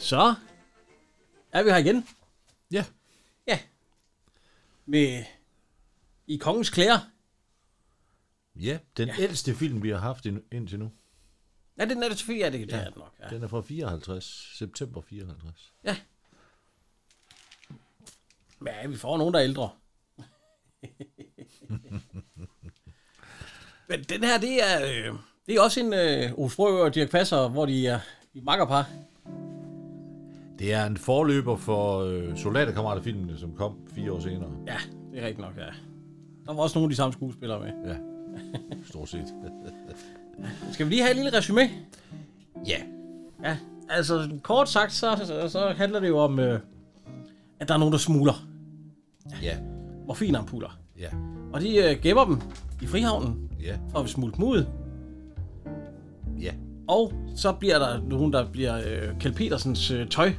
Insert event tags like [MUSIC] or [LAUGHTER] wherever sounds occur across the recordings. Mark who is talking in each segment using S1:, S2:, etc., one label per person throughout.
S1: Så er vi her igen.
S2: Ja,
S1: Ja. Med i kongens klæder.
S2: ja den ja. ældste film, vi har haft ind, indtil nu.
S1: Ja, den er det selvfølgelig, ja, det, det er det nok. Ja.
S2: Den er fra 54, september 54.
S1: ja. Men ja, vi får nogen, der er [LAUGHS] ældre. Men den her, det er, øh, det er også en øh, Ove Sprøge og Dirk Passer, hvor de er i makkerpar.
S2: Det er en forløber for øh, Soldaterkammerater-filmene, som kom fire år senere.
S1: Ja, det er rigtigt nok, ja. Der var også nogle af de samme skuespillere med.
S2: Ja, [LAUGHS] stort set.
S1: Skal vi lige have et lille resume?
S2: ja.
S1: Ja, altså kort sagt, så, så, så handler det jo om, øh, at der er nogen, der smugler
S2: Ja,
S1: morfinampuller.
S2: ja,
S1: Og de øh, gemmer dem i Frihavnen,
S2: ja,
S1: for at vi smule dem ud.
S2: ja.
S1: Og så bliver der nogen, der bliver øh, Kjeld Petersens øh, tøj.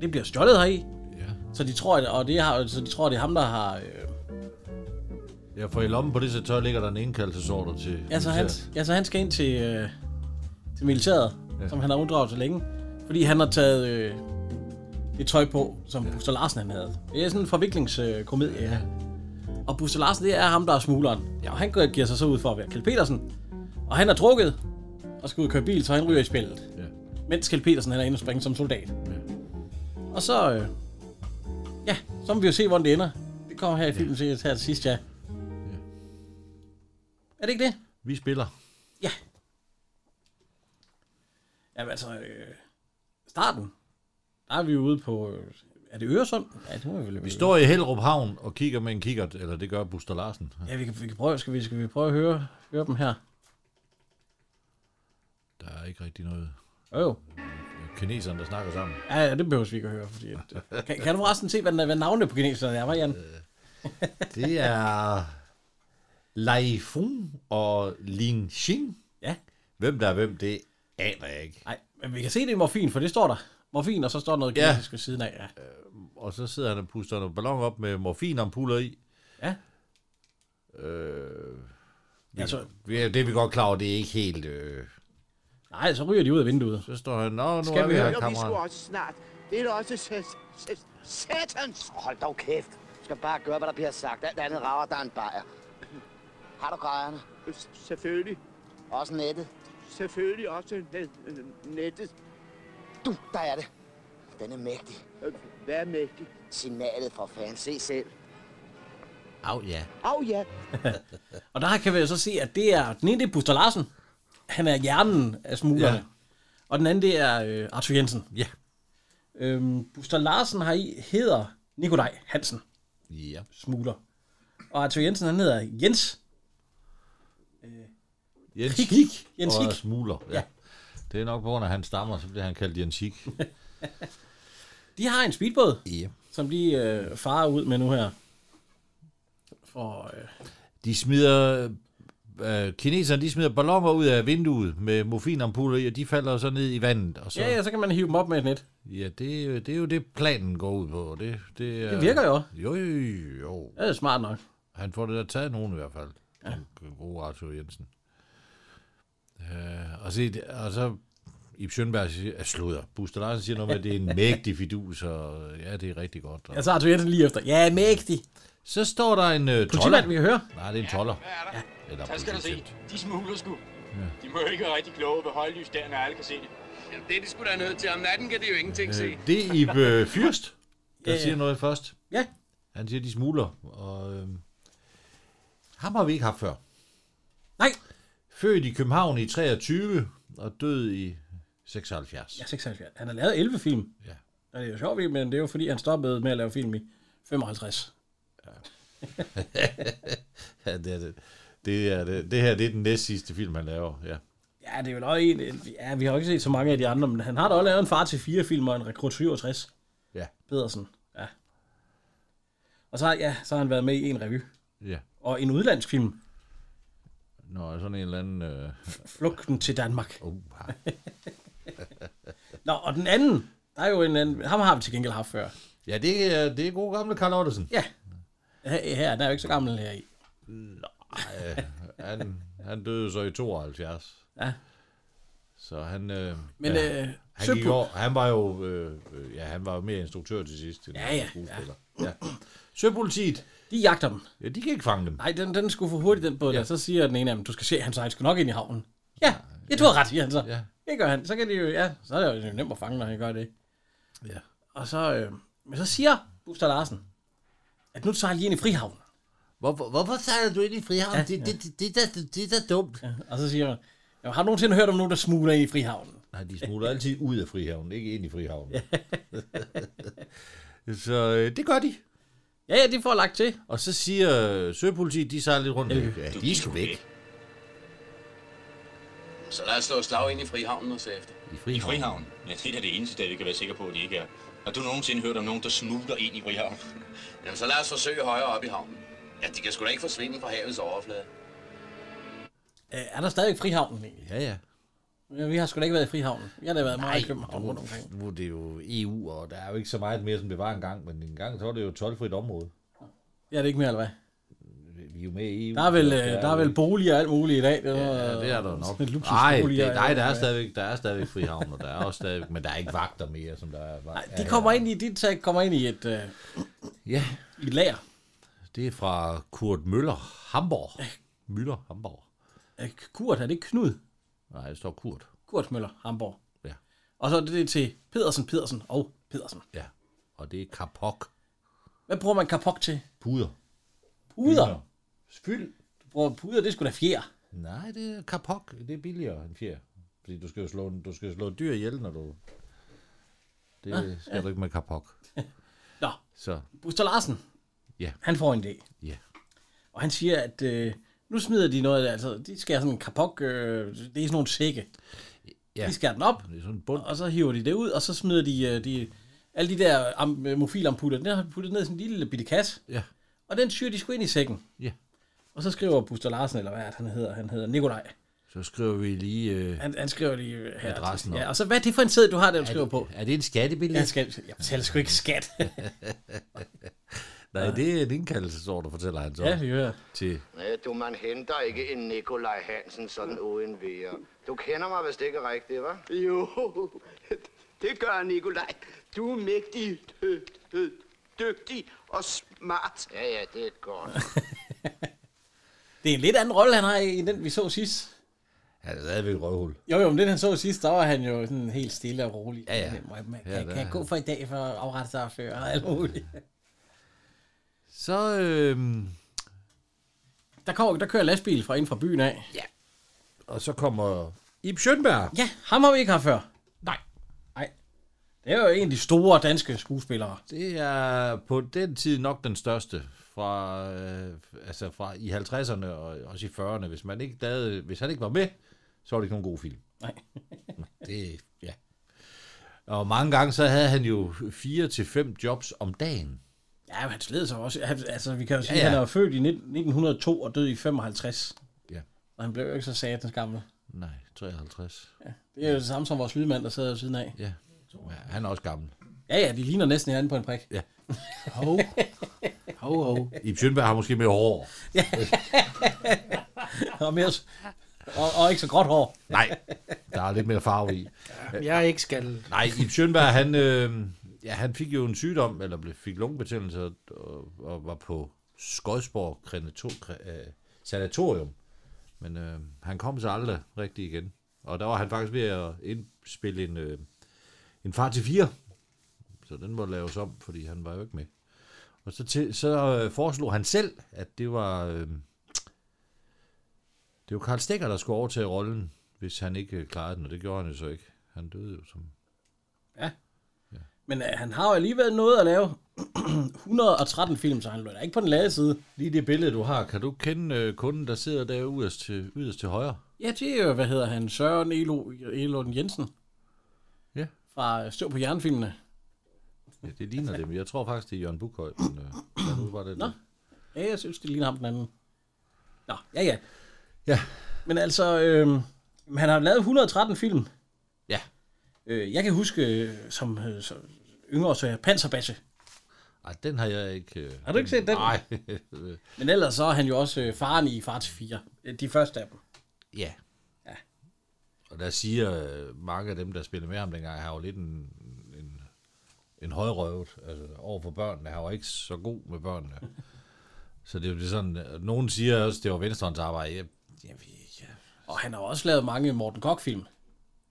S1: Det bliver stjålet heri.
S2: Ja,
S1: Så de tror, at, og det har, så de tror, det er ham, der har... Øh,
S2: ja for i lommen på det så tøj ligger der en indkaldelsesorder til...
S1: ja, så han,
S2: militæret.
S1: ja, så han skal ind til, øh, til militæret, ja.
S2: Ja.
S1: som han har unddraget så længe. Fordi han har taget øh, det tøj på, som ja. Buster Larsen han havde. Det er sådan en forviklingskomedie. Øh, komedie, ja. Og Buster Larsen, det er ham, der er smugleren. Ja. Og han går- giver sig så ud for at være Kjeld Petersen. Og han er drukket og skal ud og køre bil, så han ryger i spillet.
S2: Ja,
S1: mens Kjeld Petersen han er inde og springe som soldat.
S2: ja.
S1: Og så, øh, ja, så må vi jo se, hvordan det ender. Det kommer her i filmen til, her til sidst, ja. Er det ikke det?
S2: Vi spiller.
S1: Ja. Jamen altså, øh, starten, der er vi jo ude på, øh, er det Øresund? Ja, det må vi vel
S2: Vi står i Hellerup Havn og kigger med en kikkert, eller det gør Buster Larsen.
S1: Ja, vi kan, vi kan prøve, skal vi, skal vi prøve at høre, høre dem her?
S2: Der er ikke rigtig noget.
S1: Jo, jo.
S2: Kineserne, der snakker sammen.
S1: Ja, ja, det behøver vi ikke at høre, fordi... At, øh, kan, kan, du forresten se, hvad, den- hvad navnet på kineserne er, var Jan?
S2: Det er Lai Fung og Lin Xing.
S1: Ja.
S2: Hvem der er hvem, det aner jeg ikke.
S1: Nej, men vi kan se det i morfin, for det står der. Morfin, og så står der noget
S2: Ja.
S1: kinesisk ved siden af. Ja.
S2: Og så sidder han og puster nogle ballon op med morfinampuller i.
S1: Ja.
S2: Øh, vi,
S1: Ja,
S2: ja,
S1: så-
S2: så... vi, er- det er vi godt klar over, det er ikke helt... Øh.
S1: Nej, så ryger de ud af vinduet.
S2: Så står han, nå, nu
S1: Skal
S2: er
S1: vi
S2: vi
S1: høre?
S2: her,
S3: Jo, vi skulle
S2: kammerat.
S3: også snart. Det er da også sæt- sæt- satans.
S4: Hold dog kæft. Du skal bare gøre, hvad der bliver sagt. Alt andet rager, der er en bajer. Har du grejerne?
S3: S- Selvfølgelig.
S4: Også nettet.
S3: Selvfølgelig også net, øh, nettet.
S4: Du, der er det. Den er mægtig.
S3: Øh, Hvad er mægtig?
S4: Signalet for fanden. Se selv.
S2: Au, ja.
S3: Au ja,
S1: Og der kan vi jo så se, at det er... Den ene, det er Buster Larsen. Han er hjernen af smuglerne. Ja.
S2: Ja.
S1: Og den anden, det er øh, Arthur Jensen.
S2: Ja.
S1: Øhm, Buster Larsen har i hedder Nikolaj Hansen,
S2: Ja.
S1: smugler. Og Arthur Jensen, han hedder Jens.
S2: Jens
S1: Hik.
S2: Hik.
S1: Jens
S2: og
S1: Hik.
S2: smugler. Ja.
S1: Ja.
S2: ja. Det er nok på grund af, at han stammer, så bliver han kaldt Jens Hik.
S1: De har en speedbåd,
S2: ja.
S1: som de øh, farer ud med nu her. For, øh,
S2: De smider... Øh, kineserne, de smider ballonger ud af vinduet med morfinampuller i, og de falder så ned i vandet. Og så,
S1: ja, ja, så kan man hive dem op med et net.
S2: ja det, er jo- det er jo det, planen går ud på. og Det, det, er,
S1: Det virker jo.
S2: Jo, jo, jo.
S1: Ja, det er smart nok.
S2: Han får det der taget nogen i hvert fald. Ja. God Arthur Jensen. Øh, og, se, det- og så Ib Schønberg siger, at slutter. Buster Larsen siger noget med, at det er
S1: [LAUGHS]
S2: en mægtig fidus, og ja, det er rigtig godt. Og,
S1: Ja, så Arthur Jensen lige efter. Ja, mægtig.
S2: så står der en øh,
S1: Politimand,
S2: toller.
S1: vi kan høre.
S2: Nej, det er en toller.
S5: Hvad er der?
S2: Eller
S5: Så skal du se.
S2: politibetjent.
S5: De smugler sgu. De må jo ikke være rigtig kloge ved højlys der, når alle kan se det. Ja, det er de sgu da nødt til. Om natten kan de jo ingenting se.
S2: Øh, Det er Ib øh, Fyrst, der
S1: Ja, ja.
S2: siger noget først.
S1: Ja,
S2: Han siger, de smugler, og øh, ham har vi ikke haft før.
S1: nej.
S2: Født i København i 23 og død i 76.
S1: Ja, 76. Han har lavet 11 film.
S2: Ja.
S1: Og det er jo sjovt, men det er jo fordi, han stoppede med at lave film i 55.
S2: ja det er det. Det, er, det, det her det er den næst sidste film, han laver. Ja.
S1: Ja, det er jo nok en... Ja, vi har jo ikke set så mange af de andre, men han har da også lavet en far til fire film og en rekrut 67.
S2: Ja.
S1: Pedersen. Ja. Og så, har- ja, så har han været med i en revy.
S2: ja.
S1: Og en udlandsk film,
S2: Nå, sådan en eller anden... Øh,
S1: Flugten til Danmark.
S2: oh,
S1: Nå, og den anden, der er jo en anden, ham har vi til gengæld haft før.
S2: ja, det er, det er god gamle Carl Ottesen.
S1: Ja, her, her, der er jo ikke så gammel her i.
S2: Øh, Han, han døde så i 72.
S1: Ja.
S2: Så han... Øh,
S1: Men
S2: ja.
S1: ja. øh,
S2: Han, gik
S1: Søbo,
S2: over, han var jo øh, øh, ja, han var jo mere instruktør til sidst end
S1: Ja, ja,
S2: skuespiller. Ja. Søpolitiet,
S1: de jagter dem.
S2: ja, de kan ikke fange dem.
S1: Nej, den, den skulle for hurtigt den båd, ja.
S2: Ja.
S1: og så siger den ene af dem, du skal se, han sejler sgu nok ind i havnen. Ja, ja, du har ret, siger han så.
S2: Ja.
S1: Det gør han. Så kan de jo, ja, så er det jo nemt at fange, når han gør det.
S2: Ja.
S1: Og så, øh, men så siger Buster Larsen, at nu tager lige ind i Frihavn.
S2: Hvorfor, hvorfor sejler du ind i frihavn? Ja, det, ja. Det, det, det, er da- det, er da dumt. Ja.
S1: Og så siger han, "Jamen, har du nogensinde hørt om nogen, der smugler ind i Frihavnen?
S2: Nej, de smutter altid ud af frihavnen, ikke ind i frihavnen. [LAUGHS] så øh, det gør de.
S1: Ja, ja, det får jeg lagt til.
S2: Og så siger øh, søpolitiet, de sejler lidt rundt. Ja, de er sgu væk.
S5: Så lad os slå et slag ind i Frihavnen og se efter.
S2: I
S6: I
S2: frihavn.
S6: Frihavn? Ja, det er det eneste, der vi kan være sikre på, at de ikke er. Har du nogensinde hørt om nogen, der smugler ind i Frihavn?
S5: Jamen, så lad os forsøge højere op i havnen. Ja, de kan sgu da ikke forsvinde fra havets overflade.
S1: Øh, er der stadig Frihavnen egentlig?
S2: Ja, ja.
S1: Ja, vi har sgu da ikke været i Frihavnen. Vi har da været meget i København rundt omkring.
S2: Nu er det jo EU, og der er jo ikke så meget mere, som det var engang. Men engang, så var det jo et tolvfrit område.
S1: Ja, det er ikke mere, eller hvad?
S2: Vi er jo med i E EU.
S1: Der er vel,
S2: så
S1: øh, der
S2: jo
S1: er vel
S2: ikke-
S1: boliger og alt muligt i dag. Det var,
S2: Ja, det er der nok.
S1: Sådan
S2: Nej, det,
S1: luksusboliger.
S2: nej, der er stadigvæk, der er stadigvæk frihavn, og der er også stadigvæk, men der er ikke vagter mere, som der er.
S1: Nej, de kommer ind i, de tag kommer ind i et, øh,
S2: Ja,
S1: i et lager.
S2: det er fra Kurt Møller Hamburg. Møller Hamburg.
S1: Øh, Kurt, er det ikke Knud?
S2: Nej, det står Kurt.
S1: Kurt Møller, Hamburg.
S2: Ja.
S1: Og så er det det til Pedersen, Pedersen og Pedersen.
S2: Ja, og det er Kapok.
S1: Hvad bruger man kapok til?
S2: Puder.
S1: Puder.
S2: Fyld.
S1: Du bruger puder, det skulle da fjer.
S2: Nej, det er Kapok. Det er billigere end fjer. Fordi du skal jo slå, en- du skal jo slå et dyr ihjel, når du... Det skal du ikke med Kapok.
S1: Nå,
S2: Så,
S1: Buster Larsen,
S2: Ja.
S1: han får en idé.
S2: ja.
S1: Og han siger, at øh, nu smider de noget, altså de skærer sådan en kapok, øh, det er sådan nogle sække. Ja.
S2: Ja.
S1: De skærer den op,
S2: Det er sådan en bund.
S1: og så hiver de det ud, og så smider de, øh, de alle de der am- øh, mofilamputter, den har de puttet ned i sådan en lille bitte kasse,
S2: Ja,
S1: og den syr de sgu ind i sækken.
S2: ja.
S1: Og så skriver Buster Larsen, eller hvad er det, han hedder, han hedder Nikolaj.
S2: Så skriver vi lige... Øh,
S1: Han, han skriver lige øh, her.
S2: Adressen op.
S1: ja, og så hvad er det for en sæd, du har, der du skriver på?
S2: er det en skattebillet?
S1: Jeg, skal, jeg betaler sgu ikke skat.
S2: Nej, det er en indkaldelsesordre, fortæller han så.
S1: ja, vi hører.
S2: Til,
S4: Nej, du, man henter ikke en Nikolaj Hansen sådan uden videre. Du kender mig vist ikke rigtigt, hva'?
S3: Jo, det gør Nikolaj. Du er mægtig, dø, dø, dygtig og smart.
S4: Ja, ja, det er godt.
S1: Det er en lidt anden rolle, han har i end den, vi så sidst.
S2: han er stadigvæk et røvhul.
S1: Jo, jo, men den, han så sidst, der var han jo sådan helt stille og rolig.
S2: Ja, ja.
S1: Man, man, kan,
S2: Ja,
S1: ja,
S2: der
S1: kan jeg
S2: er
S1: gå for i dag for at afrette sig før og alt muligt.
S2: Så, øhm,
S1: Der, kommer, der kører lastbil fra ind fra byen af.
S2: og så kommer Ib Schønberg.
S1: Ja, ham har vi ikke haft før.
S2: Nej.
S1: Nej. Det er jo en af de store danske skuespillere.
S2: Det er på den tid nok den største fra, øh, altså fra i 50'erne og også i 40'erne. Hvis, man ikke lavede, hvis han ikke var med, så var det ikke nogen god film.
S1: Nej.
S2: [LAUGHS] Det, ja. Og mange gange så havde han jo fire til fem jobs om dagen.
S1: Ja, men han sled sig også. Han, altså, vi kan jo sige, ja, ja.
S2: Ja, ja.
S1: han er jo født i 19- 1902 og død i 55.
S2: Ja.
S1: Og han blev jo ikke så satans gammel.
S2: Nej, 53.
S1: Det er jo det samme som vores lydmand, der sidder ved siden af.
S2: Ja. ja han er også gammel.
S1: Ja, ja, de ligner næsten hinanden på en prik.
S2: Hov. Hov, hov. Ib Schønberg har måske mere hår.
S1: Og, mere, s- og, og ikke så gråt hår.
S2: Nej, der er lidt mere farve i.
S7: Jeg er ikke skal.
S2: Nej, Ib Schønberg, han, øh, ja, han fik jo en sygdom, eller blev- fik lungebetændelse, og, og, og var på Skodsborg Krenato- Kre- øh, Sanatorium. Men øh, han kom så aldrig rigtig igen. Og der var han faktisk ved at indspille en, øh, en far til fire. Så den må laves om, fordi han var jo ikke med. Og så, til, så øh, foreslog han selv, at det var... Øh, det var Karl Stikker, der skulle overtage rollen, hvis han ikke øh, klarede den, og det gjorde han jo så ikke. Han døde jo som
S1: Men øh, han har jo alligevel noget at lave. [CLEARS THROAT] 113 film, så han lå da ikke på den lade side.
S2: Lige det billede, du har, kan du kende øh, kunden, der sidder der yderst til, yderst til højre?
S1: Ja, det er jo, hvad hedder han, Søren Elo, Elund Jensen.
S2: Ja.
S1: Fra øh, Støv på jernfilmene.
S2: ja det ligner dem. Jeg tror faktisk, det er Jørgen Bukhøj. Men, øh, lad nu bare det
S1: Nå.
S2: der.
S1: Ja, jeg synes, det ligner ham den anden. Nå, ja, ja.
S2: Ja.
S1: Men altså, øh, han har lavet 113 film.
S2: Ja.
S1: Øh, jeg kan huske, øh, som, øh, som yngre, så jeg Panserbasse.
S2: Ej, den har jeg ikke... Øh,
S1: Har du ikke set den?
S2: Nej.
S1: [LAUGHS] Men ellers så er han jo også øh, faren i Far til 4. Øh, De første af dem.
S2: ja. Og der siger øh, mange af dem, der spillede med ham dengang, har jo lidt en, en, en højrøvet altså, over for børnene. Han var ikke så god med børnene.
S1: [LAUGHS]
S2: så det er jo det sådan... og Nogen siger også, det var venstrehånds arbejde. Jeg, jeg ved ikke. jeg-
S1: Og han har også lavet mange Morten Koch-film.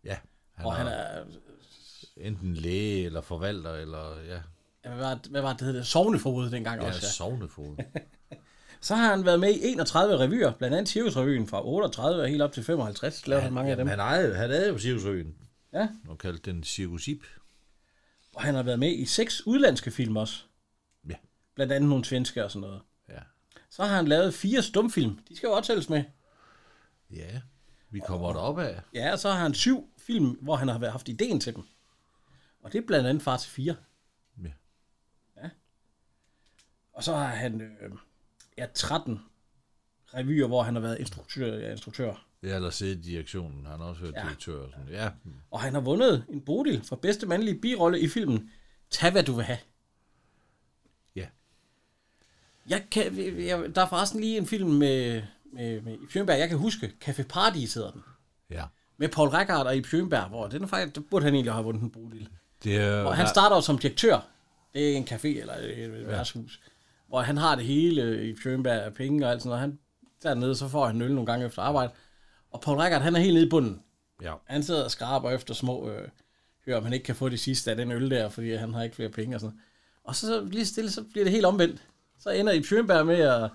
S2: Ja. Han,
S1: Og
S2: han
S1: han
S2: er
S1: er,
S2: enten læge eller forvalter, eller ja,
S1: hvad var, det- hvad var det, det hedder, sovnefod dengang
S2: ja
S1: også. Ja.
S2: sovnefod.
S1: Så har han været med i 31 revyer, blandt andet Cirkusrevyen fra 38 og helt op til 55, lavede han [LAUGHS] mange af dem.
S2: Jamen, han, ejede, han ejede jo Cirkusøen,
S1: Ja,
S2: og kaldte den Cirkusip.
S1: og han har været med i seks udlandske film også.
S2: Ja.
S1: Blandt andet nogle svenske og sådan noget.
S2: Ja.
S1: Så har han lavet fire stumfilm. De skal jo også tælles med.
S2: ja, vi kommer derop af.
S1: Ja, og så har han syv film, hvor han har været- haft ideen til dem. Og det er blandt andet Far til 4.
S2: Ja.
S1: ja. Og så har han øh, ja, 13 revyer, hvor han har været instruktør, ja, instruktør.
S2: Ja, eller sidde i direktionen. Han har også været
S1: Ja.
S2: ja. direktør. Og sådan. Ja.
S1: Og han har vundet en Bodil for bedste mandlige birolle i filmen Tag hvad du vil have.
S2: ja.
S1: Jeg kan, jeg, der er forresten lige en film med, med, med Ib Schønberg, jeg kan huske. Café Paradis hedder den.
S2: Ja.
S1: Med Paul Rekard og Ib Schønberg, hvor den er faktisk, der burde han egentlig have vundet en Bodil.
S2: Det er,
S1: Og han starter jo som direktør. Det er en café eller et, et værtshus. Hvor han har det hele i Schønberg og penge og alt sådan noget. Han, dernede, så får han en øl nogle gange efter arbejde. Og Paul Rekard, han er helt nede i bunden.
S2: ja.
S1: Han sidder og skraber efter små, øh, hører om han ikke kan få det sidste af den øl der, fordi han har ikke flere penge og sådan noget. Og så, så lige stille, så bliver det helt omvendt. Så ender i Schønberg med at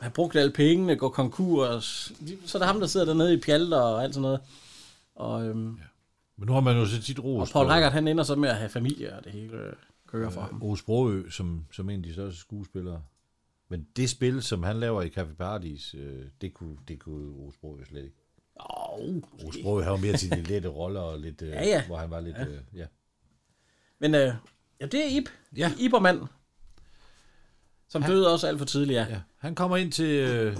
S1: have brugt alle pengene, gå konkurs. Så er det ham, der sidder dernede i pjalter og alt sådan noget. Og, øhm,
S2: Men nu har man jo så tit ros
S1: og Paul
S2: på-
S1: Rekard, han ender så med at have familie, og det hele øh, kører for ham.
S2: Ove Sprogø, som, som en af de største skuespillere. Men det spil, som han laver i Café Paradis, øh, det kunne, det kunne Ove Sprogø slet ikke.
S1: Oh,
S2: Ove Sprogø har jo mere
S1: [LAUGHS]
S2: til de lette roller, og lidt, øh,
S1: Ja, ja.
S2: hvor han var lidt... Øh, ja.
S1: Men øh, ja, det er Ib.
S2: Ja.
S1: Ibermand. Som han, døde også alt for tidligt, ja.
S2: Ja, han kommer ind til, øh,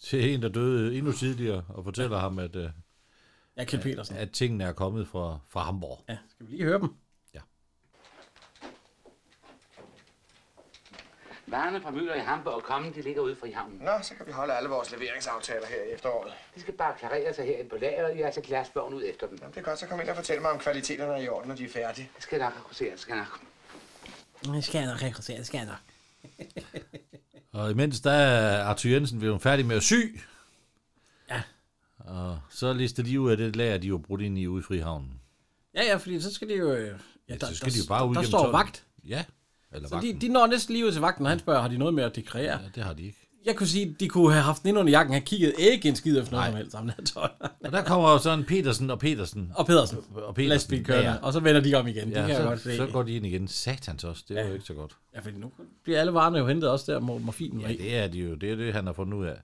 S2: til en, der døde endnu tidligere, og fortæller ham, at, øh,
S1: Ja, Kjeld Petersen.
S2: at tingene er kommet fra, fra Hamburg.
S1: Ja, skal vi lige høre dem?
S7: Varerne fra Møller i Hamburg og kommen, de ligger ude for i havnen.
S8: Nå, så kan vi holde alle vores leveringsaftaler her i efteråret.
S7: De skal bare klarere sig herinde på lageret, og jeg tager glasbogen ud efter dem.
S8: Jamen, det er godt, så kom ind og fortæl mig, om kvaliteterne er i orden, når de er færdige.
S7: Jeg skal nok fokusere, skal nok.
S1: Det skal jeg nok rekruttere, det skal jeg nok.
S2: Og imens der er Arthur Jensen blevet færdig med at sy.
S1: Ja.
S2: Og så lister de ud af det lager, de var brudt ind i ude i Frihavn.
S1: Ja, ja, fordi så skal de jo... øh, Ja,
S2: så skal de jo bare ud
S1: Der
S2: gennem
S1: står
S2: tolden.
S1: vagt.
S2: Ja, eller
S1: Så de,
S2: vagten.
S1: de når næsten lige ud til vagten, og han spørger, har de noget med at dekorere? Ja.
S2: Ja, det har de ikke.
S1: Jeg kunne sige, de kunne have haft den ind under jakken. Han kiggede ikke en skid efter noget
S2: Nej.
S1: som helst. Sammen,
S2: Og der kommer jo sådan Petersen og Petersen.
S1: og Pedersen.
S2: Og
S1: Petersen.
S2: Petersen.
S1: Lastbilkørende.
S2: Ja.
S1: Og så vender de om igen. Ja, det kan
S2: så,
S1: jeg godt se.
S2: så går de ind igen. Satans også, det er jo ikke så godt.
S1: Ja, fordi nu bliver alle varerne jo hentet også der, hvor morfinen
S2: Ja,
S1: ja, det...
S2: det er de jo. Det er det, han har fundet ud af.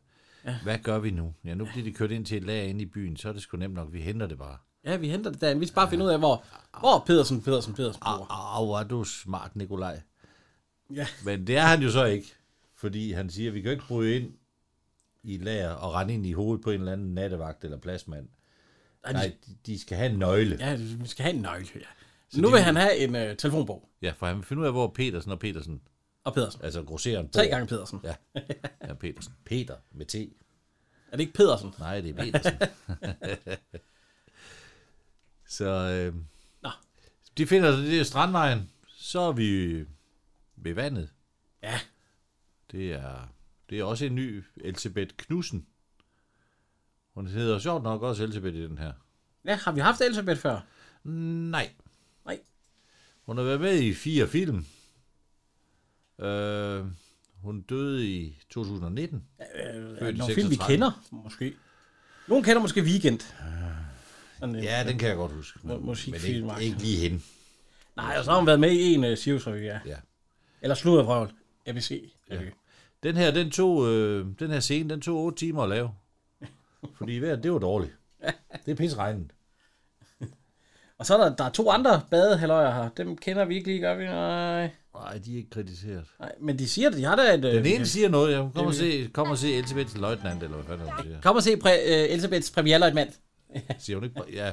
S2: Ja. Hvad gør vi nu? Ja, nu bliver de kørt ind til et lager inde i byen, så er det sgu nemt nok. Vi henter det bare.
S1: ja, vi henter det derinde. Vi skal bare finde ud af, hvor, hvor Pedersen, Pedersen, Pedersen
S2: Ah,
S1: bor.
S2: Au, er du smart, Nikolaj.
S1: Ja.
S2: Men det er han jo så ikke, fordi han siger, at vi kan jo ikke bryde ind i et lager og rende ind i hovedet på en eller anden nattevagt eller pladsmand.
S1: Nej, de-
S2: Nej, de- de skal have en nøgle. Ja,
S1: Ja, vi skal have en nøgle, ja. Så nu vil han have en øh, telefonbog
S2: ja for han vil finde ud af, hvor Petersen og Petersen,
S1: og Pedersen.
S2: altså grosseren
S1: Tre
S2: bor.
S1: gange Pedersen.
S2: Ja. ja, Petersen. Peter med T.
S1: Er det ikke Pedersen?
S2: Nej, det er Petersen. [LAUGHS] så øh,
S1: Nå.
S2: de finder så det er strandvejen. Så er vi ved vandet.
S1: Ja.
S2: Det er, det er også en ny Elisabeth Knudsen. Hun hedder sjovt nok også Elisabeth i den her.
S1: Ja, har vi haft Elisabeth før?
S2: Nej.
S1: Nej.
S2: Hun har været med i fire film. Øh, hun døde i 2019.
S1: Er
S2: Født i
S1: det nogle film, vi
S2: 36.
S1: kender, måske. Nogen kender måske Weekend. Sådan øh. en,
S2: Ah. Ja, den kan jeg godt huske.
S1: Må-
S2: Men, men
S1: musikfilm,
S2: ikke,
S1: altså.
S2: ikke lige hende.
S1: Nej, og så har hun været med i en uh, Sirius-revy, ja.
S2: Ja.
S1: Eller Sluddervrøvl, ABC. Ja.
S2: Den her, den tog, øh, den her scene, den tog 8 timer at lave. Fordi vejret, det var dårligt. Det er pisregnet.
S1: Og så er der, der er to andre badehalløjer her. Dem kender vi ikke lige, gør vi? Nej.
S2: Nej, de er ikke kritiseret.
S1: Nej, men de siger, at de har da et... øh,
S2: Den ene siger noget, jeg kommer og se, kom og se Elisabeths løjtnant, eller hvad fanden hun siger.
S1: Kom og se præ, uh, Elisabeths premierløjtmand.
S2: Siger hun ikke bare, ja.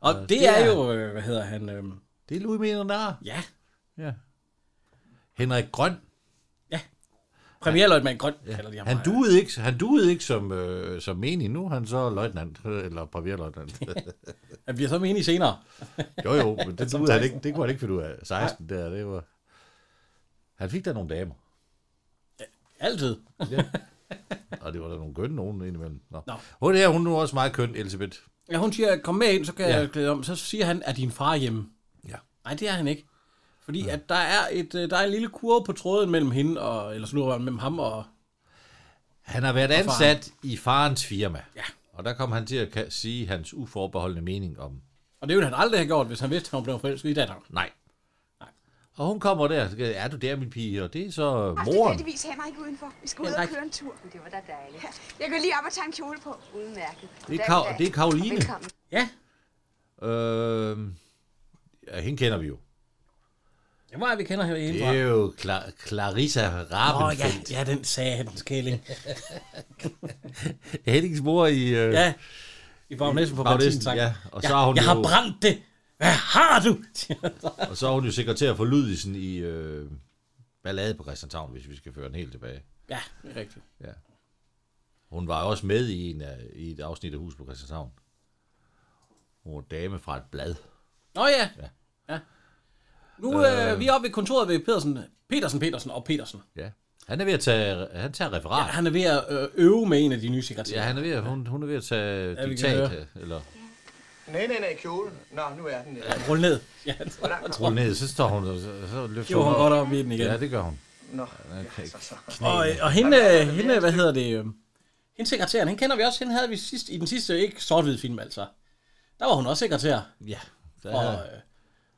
S1: Og det, det
S2: det
S1: er
S2: er-
S1: jo, øh, hvad hedder han? Øh,
S2: Det er Louis Menard.
S1: ja,
S2: Ja. Henrik Grøn,
S1: premierløjtmand Grøn, ja. kalder de ham.
S2: han
S1: bare.
S2: duede ikke, han duede ikke som, øh, som menig nu, er han så løjtnant, øh, eller premierløjtnant.
S1: Han bliver så menig senere.
S2: [LAUGHS] Jo jo, men det, duede han ikke, det kunne han ikke finde ud af. 16 der, det var... Han fik da nogle damer,
S1: Altid.
S2: og Ah, det var da nogle kønne nogen indimellem. Nå.
S1: Nå.
S2: Hun er, hun er nu også meget køn, Elisabeth.
S1: Ja, hun siger, kom med ind, så kan ja.
S2: Ja.
S1: jeg klæde om. Så siger han, er din far hjemme?
S2: Ja.
S1: Nej, det er han ikke. Fordi ja. at der er, et, øh, der er en lille kurve på tråden mellem hende og, eller slurven mellem ham og...
S2: Han har været ansat i farens firma.
S1: Ja.
S2: Og der kom han til at ka- sige hans uforbeholdende mening om
S1: Og det ville han aldrig have gjort, hvis han vidste, at hun blev forelsket i datteren.
S2: nej. Og hun kommer der, og siger, er du der, min pige? Og Altså, det er så moren.
S9: heldigvis han mig ikke udenfor. Vi skal ud
S1: Henrik.
S9: og køre en tur. Det var da dejligt. Jeg går lige op og tager en kjole på. Udmærket.
S2: Det er, Kav- det er Karoline.
S9: Velkommen.
S1: Ja,
S2: Øh, ja, hende kender vi jo.
S1: det var, vi kender hende
S2: Det
S1: fra.
S2: er jo Cla- Clarissa
S1: Åh, ja,
S2: Rabenfeldt.
S1: ja, den sagde den
S2: [LAUGHS]
S1: skæling.
S2: Oh, ja. Hennings mor i... Øh,
S1: Ja, i bagnæsen på
S2: Bagnæsen,
S1: Martin sang.
S2: ja. Og så har hun
S1: jeg
S2: jo-
S1: har brændt det. Hvad har du? [LAUGHS] siger han så.
S2: Og så er hun jo sekretær for Lydisen i øh, Ballade på Christianshavn, hvis vi skal føre den helt tilbage.
S1: ja, det er rigtigt.
S2: Hun var også med i, en af, i et afsnit af Hus på Christianshavn. Hun var dame fra et blad.
S1: Nå ja. ja.
S2: Ja.
S1: ja. Nu øh, vi er oppe ved kontoret ved Petersen. Petersen, Petersen og Petersen.
S2: Ja. Han er ved at tage, han tager
S1: Ja,
S2: referat.
S1: han er ved at øh, øve med en af de nye
S2: Ja,
S1: sekretærer.
S2: han er ved at, hun, hun er ved at tage
S1: Ja,
S2: ja,
S1: vi kan
S2: diktat,
S1: høre.
S2: eller
S8: Nej, nej, nej, kjolen. Nå, nu er den nede.
S1: Rul ned. Ja,
S2: rulle ned, så står hun, og så, så løfter
S1: jo, hun
S2: hun
S1: godt op i den igen.
S2: Ja, det gør hun.
S8: Nå, ja, så, så.
S1: Og, og hende, øh, hende, hvad hedder det, øh, hende sekretæren, hende kender vi også, hende havde vi sidst, i den sidste, ikke sort film altså. Der var hun også sekretær,
S2: Ja.
S1: og,
S2: Der,
S1: øh,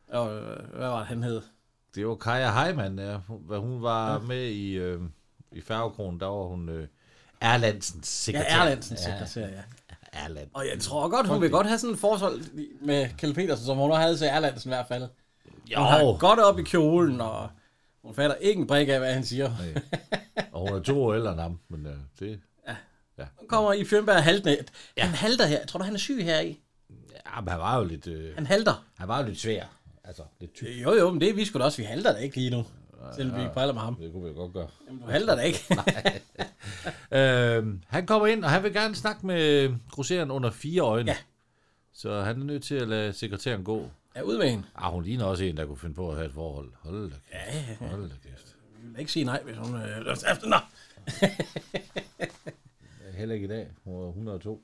S1: og øh, hvad var det, han hed?
S2: det var Kaja Heimann, ja. Hun- hvad hun var med i, øh, i Færgekronen, der var hun øh, Erlandsens
S1: Ja,
S2: sekretær.
S1: Erlandsens sekretær, ja.
S2: Ja, Erland.
S1: Og jeg tror godt, hun vil godt have sådan et forhold med Kjell Petersen, som hun også havde til Erlandsen i hvert fald.
S2: Jo,
S1: Hun har godt op i kjolen, og hun fatter ikke en brik af, hvad han siger.
S2: og hun er to år ældre end ham, men øh, det...
S1: Nu kommer i Fjernberg haltende. Ja. Han halter her. Tror du, han er syg her i?
S2: Ja, men han var jo lidt, øh,
S1: Han halter.
S2: han var jo lidt svær. Altså, lidt tyk.
S1: Jo, jo, men det er vi sgu da også. Vi halter da ikke lige nu. Selvom vi ikke prejler med ham.
S2: Det kunne vi jo godt gøre.
S1: Jamen, du halter da ikke.
S2: Øh, han kommer ind, og han vil gerne snakke med grosseren under fire øjne.
S1: Ja.
S2: Så han er nødt til at lade sekretæren gå.
S1: ja, ud med hende.
S2: Ah, hun ligner også en, der kunne finde på at have et forhold. Hold da kæft. Ja, ja. Hold da kæft.
S1: Vi vil ikke sige nej, hvis hun... Øh, efter, nå.
S2: Heller ikke i dag. Hun er 102.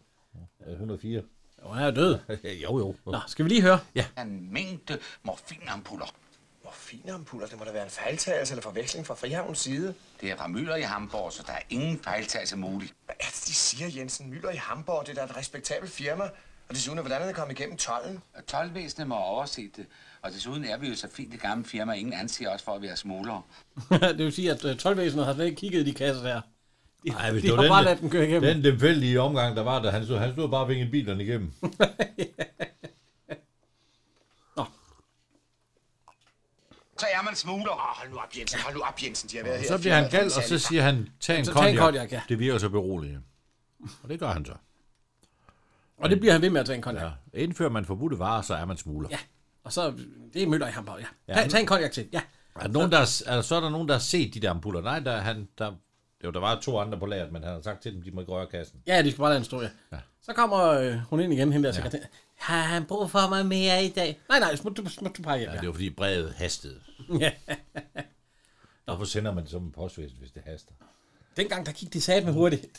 S2: Ja. 104.
S1: Jo, han er jo død.
S2: [LAUGHS] jo, jo.
S1: Nå, skal vi lige høre? Ja.
S5: En mængde morfinampuller.
S8: Morfinampuller, det må da være en fejltagelse eller forveksling fra Frihavns side.
S5: Det er Ramyller i Hamburg, så der er ingen fejltagelse mulig.
S8: Hvad er det, de siger, Jensen? Møller i Hamburg, det er da et respektabelt firma. Og desuden, hvordan er det kommet igennem tolden?
S5: Tolvvæsenet må overse det, og desuden er vi jo så fint det gamle firma, ingen anser os for at være smuglere.
S1: [LAUGHS] det vil sige, at øh, tolvvæsenet har slet ikke kigget i de kasser der. De,
S2: Ej, hvis
S1: de
S2: det var
S1: har
S2: den,
S1: bare
S2: der-
S1: ladet den køre igennem.
S2: Den tilfældige omgang, der var der, han stod, han stod bare og vingede bilerne igennem.
S5: Så er man smugler.
S8: Åh, hold nu op, Jensen. Hold nu op, Jensen. De har været her.
S2: Så
S8: i
S2: bliver
S8: firmaet for
S2: han
S8: en
S2: gal, og så
S8: særlig-
S2: siger han, tag en
S1: Så tag en
S2: konjak.
S1: cognac, ja.
S2: Det virker så beroligende. Og det gør han så.
S1: Og det bliver han ved med at tage en konjak.
S2: Ja. Indfører man forbudte varer, så er man smugler.
S1: Ja. Og så, det er møller i Hamburg, ja. Tag, tag en konjak til, ja.
S2: Er der nogen, der, er, er, der- så er der nogen, der har set de der ampuller. Nej, der, er han, der, jo, der var to andre på lageret, men han har sagt til dem, de må ikke røre kassen.
S1: Ja, de skal bare lade den stå, ja. ja. Så kommer øh, hun ind igen, hende der sekretær. Har han brug for mig mere i dag? Nej, nej, smut du, smut du bare hjem,
S2: Ja.
S1: ja.
S2: Det var fordi brevet hastede.
S1: ja.
S2: [LAUGHS] Hvorfor sender man det som en postvæsen, hvis det haster?
S1: Dengang, der gik de sat med hurtigt. [LAUGHS]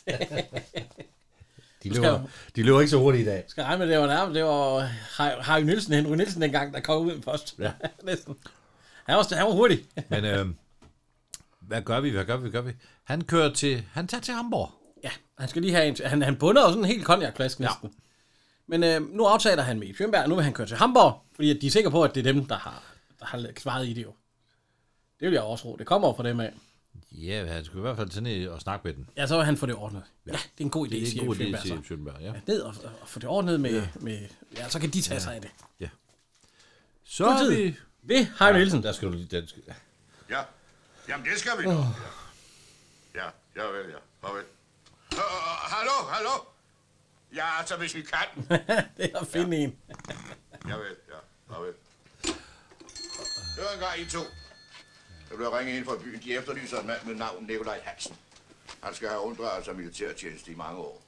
S2: De
S1: skal
S2: løber, de løber ikke så hurtigt i dag.
S1: skal regne med, det var nærmest, det var Har- Harry Nielsen, Henry Nielsen dengang, der kom ud med post.
S2: Ja.
S1: [LAUGHS] Næsten. Han var, han var hurtig.
S2: [LAUGHS] Men øh, hvad gør vi, hvad gør vi, hvad gør vi? Han kører til, han tager til Hamburg.
S1: Ja, han skal lige have en... Han, han bunder jo sådan en helt konjakflaske næsten. Ja. Men øh, nu aftaler han med Fjernberg, og nu vil han køre til Hamburg, fordi at de er sikre på, at det er dem, der har har svaret i det jo. Det vil jeg også tro. Det kommer jo fra dem af.
S2: Ja, han skulle i hvert fald tage ned og snakke med den.
S1: Ja, så vil han få det ordnet. Ja, det er en god idé,
S2: Det er
S1: siger
S2: en god idé,
S1: Fjølberg
S2: siger
S1: så.
S2: Schønberg, ja.
S1: Ned og, og få det ordnet med, ja. med... Ja, så kan de tage ja. sig af det.
S2: Så er
S1: Politiet.
S2: vi...
S1: Ved Heino Nielsen.
S2: Der skal du lige dansk.
S10: Ja. Jamen, det skal vi nok. Ja, ja vel, ja. Farvel. Øh, øh, Hallo, hallo? Ja, altså, hvis vi kan.
S1: [LAUGHS] det er at finde ja. en.
S10: Ja vel, ja. Farvel. Hør en gang, I to. Jeg blev ringet ind fra byen. De efterlyser en mand med navn Nikolaj Hansen. Han skal have unddraget sig militærtjeneste i mange år.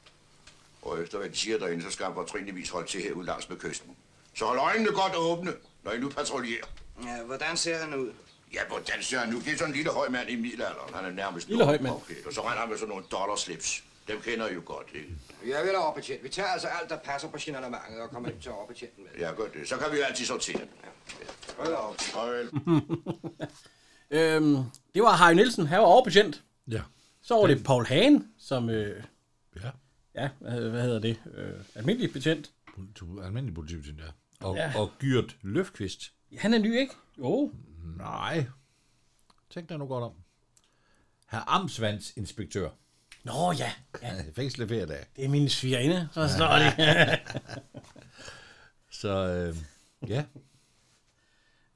S10: Og efter hvad de siger derinde, så skal han fortrinligvis holde til herude langs med kysten. Så hold øjnene godt åbne, når I nu patruljerer.
S8: Ja, hvordan ser han ud?
S10: Ja, hvordan ser han nu? Det er sådan en lille høj mand i middelalderen. Han er nærmest
S1: Lille høj mand.
S10: Okay, og så render han med sådan nogle dollarslips. Dem kender I jo godt, ikke?
S7: Jeg vil da overbetjent. Vi tager altså alt, der passer på signalementet og kommer ind til overbetjenten med.
S10: Ja, godt det. Så kan vi jo altid sortere.
S7: Hold da op.
S10: Farvel.
S1: Øhm, det var Harry Nielsen, han var overbetjent.
S2: Ja.
S1: Så var det Paul Hagen, som... Øh,
S2: Ja.
S1: ja, hvad hedder, hvad hedder det? Øh, almindelig betjent.
S2: Politi- Almindelig politibetjent, ja. Og,
S1: Ja.
S2: og Gyrt Løfqvist.
S1: Han er ny, ikke? Jo.
S2: Nej. Tænk dig nu godt om. Herr Amtsvands inspektør.
S1: Nå ja, ja.
S2: Fængslet flere dage.
S1: det er min svigerinde, så står det.
S2: Så øh, ja,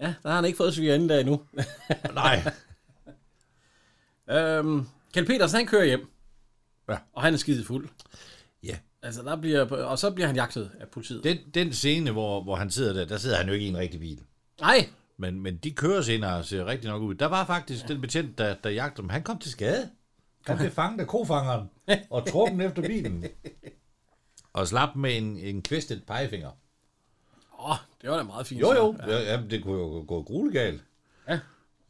S1: ja, der har han ikke fået svigerinde der endnu.
S2: nej.
S1: Øhm, Kjeld Petersen, han kører hjem.
S2: Ja.
S1: Og han er skide fuld.
S2: Ja.
S1: Altså, der bliver, og så bliver han jagtet af politiet. Det.
S2: Den, den scene, hvor, hvor han sidder der, der sidder han jo ikke i en rigtig bil.
S1: Nej,
S2: Men, men de kører senere og ser rigtig nok ud. Der var faktisk den betjent, der, der jagtede ham. Han kom til skade. Han blev fanget af kofangeren og trukken efter bilen. Og slap med en, en kvistet pegefinger.
S1: åh, det var da meget fint.
S2: Jo,
S1: så.
S2: jo. Ja. Jamen, det kunne jo gå grueligt galt.
S1: Ja.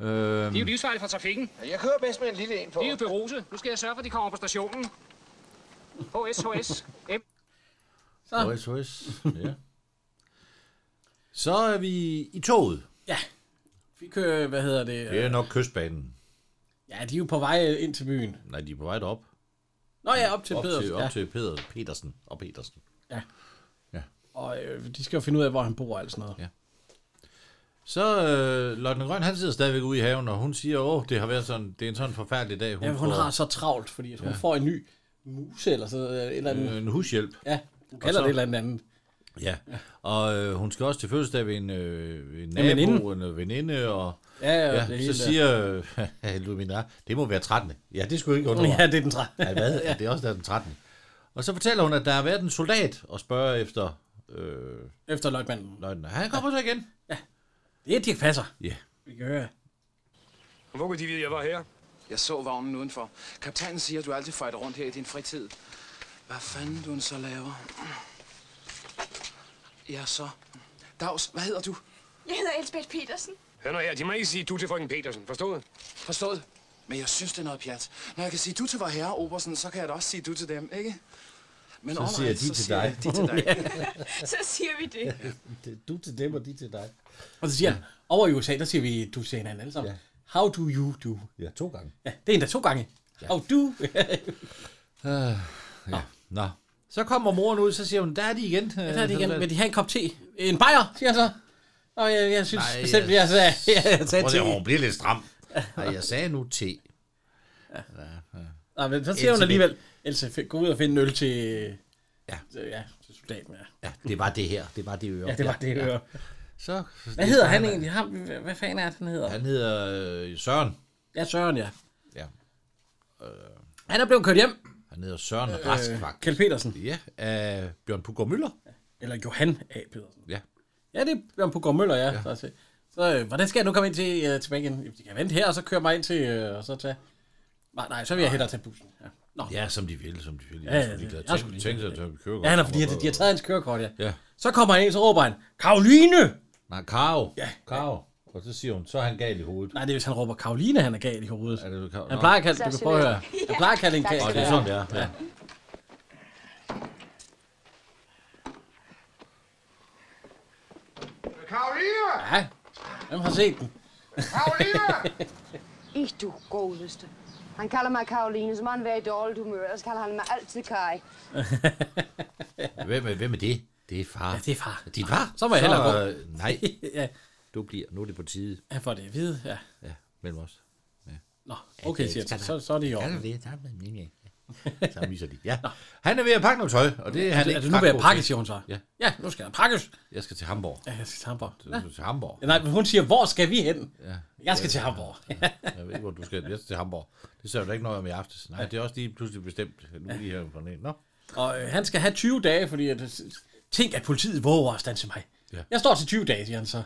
S2: Øhm,
S5: De er jo livsfarlige for trafikken.
S8: Jeg kører bedst med en lille en på.
S5: De er jo beruse. Nu skal jeg sørge for, at de kommer på stationen. HS, HS. M.
S1: Så.
S2: Højs, højs. Ja. Så er vi i toget.
S1: Ja. Vi kører, hvad hedder det?
S2: Det
S1: øh,
S2: er nok kystbanen.
S1: Ja, de er jo på vej ind til byen.
S2: Nej, de er på vej derop.
S1: Nå ja, op til
S2: Op
S1: Pedersen.
S2: til, op
S1: Ja.
S2: til Peder, Petersen og Petersen.
S1: Og øh, de skal jo finde ud af, hvor han bor og alt sådan noget.
S2: Ja. Så øh, Lotte Grøn, han sidder stadigvæk ude i haven, og hun siger, åh, det har været sådan, det er en sådan forfærdelig dag.
S1: Ja, hun
S2: får,
S1: har så travlt, fordi at hun ja. får en ny muse eller sådan noget, et eller andet.
S2: øh, en hushjælp.
S1: Ja, hun kalder
S2: så-
S1: det et eller andet andet.
S2: Ja, og øh, hun skal også til fødselsdag ved en, øh, en
S1: En veninde.
S2: nabo, en, en veninde, og
S1: Ja, ja, det
S2: ja, så
S1: hele der.
S2: siger [LAUGHS] øh, Lumina, det må være 13. Ja, det skulle ikke undre mig.
S1: [LAUGHS] Ja, det er den træ. [LAUGHS]
S2: Ja, hvad? Ja. Det er også der den 13. Og så fortæller hun, at der har været en soldat og spørger efter øh,
S1: Efter løgmanden.
S2: løgnen. Han kommer så igen.
S1: Det er Dirk Passer.
S2: Ja.
S1: Vi kan høre.
S11: Hvor kunne de vide, jeg var her?
S12: Jeg så vognen udenfor. Kaptajnen siger, at du altid fejter rundt her i din fritid. Hvad fanden du end så laver? Ja, så. Dags, hvad hedder du?
S9: Jeg hedder Elsbeth Petersen.
S11: Hør nu her, de må ikke sige du til frøken Petersen. Forstået?
S12: Forstået? Men jeg synes, det er noget pjat. Når jeg kan sige du til vor herre, Obersen, så kan jeg da også sige du til dem, ikke? Men
S2: Så
S12: alright,
S2: siger de til
S12: siger
S2: dig.
S12: jeg De til
S2: [LAUGHS]
S12: dig.
S9: Så siger vi det.
S2: Du til dem, og de til dig.
S1: Og så siger han, over i USA, der siger vi, du siger hinanden alle sammen.
S2: Ja.
S1: How do you do?
S2: Ja, to gange.
S1: Ja, det er endda to gange. How do?
S2: Nå. Så kommer moren ud, så siger hun, der er de igen. Øh,
S1: Ja, der er det igen. Vil de have en kop te? En bajer, siger han så. Og jeg, jeg synes
S2: Nej,
S1: Nej, selv, jeg sagde, [LAUGHS] jeg sagde te.
S2: Hun bliver lidt [LAUGHS] stram. Nej, jeg sagde nu te.
S1: Nej, men så siger hun
S2: Else
S1: alligevel, Else, fi- gå ud og finde en øl til... Ja.
S2: Ja.
S1: Ja, til soldaten, ja.
S2: Ja, det var det her. Det var det øre.
S1: Ja, det var det, jeg hører.
S2: Så,
S1: Hvad hedder han egentlig? Ham, hvad- hvad fanden er det, han hedder?
S2: Han hedder øh, Søren.
S1: Ja, Søren, ja.
S2: Ja.
S1: Han er blevet kørt hjem. Øh,
S2: Han hedder Søren Rask, faktisk.
S1: Kjeld Petersen.
S2: Ja, af Bjørn Puggaard Møller.
S1: Eller Johan A. Petersen.
S2: Ja.
S1: Ja, det er Bjørn Puggaard Møller, ja. ja. Så, så øh, hvordan skal jeg nu komme ind til, øh, tilbage igen? Jamen, De kan vente her, og så køre mig ind til... Øh, og så tage... Nej, nej, så vil jeg hellere tage bussen. Ja, Nå.
S2: Ja, som de vil, som de vil.
S1: Ja,
S2: Jeg
S1: ja,
S2: skulle lige
S1: ja.
S2: tænke,
S1: Jeg skulle
S2: tænke sig, at vi kører
S1: ja han er, fordi de, de har taget hans kørekort, ja.
S2: Ja.
S1: Så kommer han ind, så råber han, Karoline!
S2: Nej, Karo.
S1: Ja.
S2: Karo. Og så siger hun, så er han gal i hovedet.
S1: Nej, det er, hvis han råber Karoline, han er gal i hovedet.
S2: Er det, Karo?
S1: Han
S2: Nå.
S1: plejer at kalde,
S13: Så
S1: du kan
S13: sødt.
S1: prøve at høre. Han plejer at kalde en
S13: Tak
S1: kage.
S13: skal
S2: Og det er sådan, det er. Ja.
S10: Karoline!
S1: Ja, hvem har set den?
S10: Karoline!
S13: [LAUGHS] I du godeste. Han kalder mig Karoline, så må han være i dårligt humør, ellers kalder han mig altid Kai.
S2: Hvem, er, hvem er det? Det er far.
S1: Ja, det er far.
S2: Din far?
S1: Så må jeg hellere
S2: gå. Nej.
S1: [LAUGHS] ja.
S2: Du bliver. Nu er det på tide.
S1: Han får det at vide, ja.
S2: Ja, mellem os. Ja.
S1: Nå, okay, siger jeg. Så, så er det i orden.
S2: det,
S1: [LAUGHS]
S2: Så viser de. Ja. Han er ved at pakke noget tøj, og det er han
S1: er,
S2: ikke
S1: er det nu
S2: ret
S1: ved at
S2: god
S1: pakke,
S2: til.
S1: siger hun så?
S2: Ja.
S1: ja nu skal der pakkes.
S2: Jeg skal til Hamburg.
S1: Ja, jeg skal til Hamburg.
S2: Du skal til Hamburg.
S1: Ja, nej, men hun siger, hvor skal vi hen?
S2: Ja.
S1: Jeg skal til Hamburg.
S2: Jeg ved ikke, hvor du skal. Jeg skal til Hamburg. Det ser du ikke noget om i aftes. Nej, det er også lige pludselig bestemt. Nu er de her på den Nå.
S1: [LAUGHS] Og øh, han skal have 20 dage, fordi at, øh, tænk, at politiet våger at stanse mig.
S2: Ja.
S1: Ja. Jeg står til 20 dage, siger han så.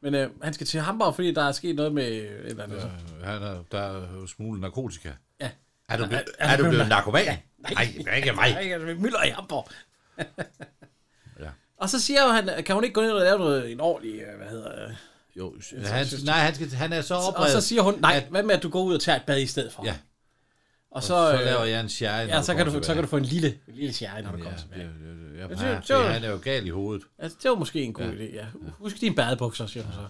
S1: Men øh, han skal til Hamburg, fordi der er sket noget med et eller andet. Ja.
S2: Øh, Han er, der er jo smule narkotika.
S1: Ja.
S2: Er du,
S1: Er-
S2: blevet,
S1: er
S2: er,
S1: du
S2: du blevet
S1: blevet-
S2: narkoman?
S1: Ja.
S2: Nej, det er ikke mig.
S1: Nej, jeg er mylder i [LAUGHS] Hamburg.
S2: Ja.
S1: Og så siger jo han, kan hun ikke gå ned og lave noget, en ordentlig, øh, hvad hedder øh,
S2: Jo, han, nej, han, skal, han er så
S1: Og
S2: oprevet.
S1: så siger hun, nej, hvad med, at du går ud og tager et bad i stedet for?
S2: Ja.
S1: Og så,
S2: så, så
S1: øh,
S2: laver jeg en sjære,
S1: Ja, så kan, du, så kan du få en lille, en lille sjære, når du
S2: Ja,
S1: kommer tilbage.
S2: det- det- det- ja,
S1: Jeg
S2: ja,
S1: synes,
S2: fordi
S1: det var-
S2: han er jo gal i hovedet.
S1: Altså, det var måske en god ja. idé, ja. Husk dine badebukser, siger hun så.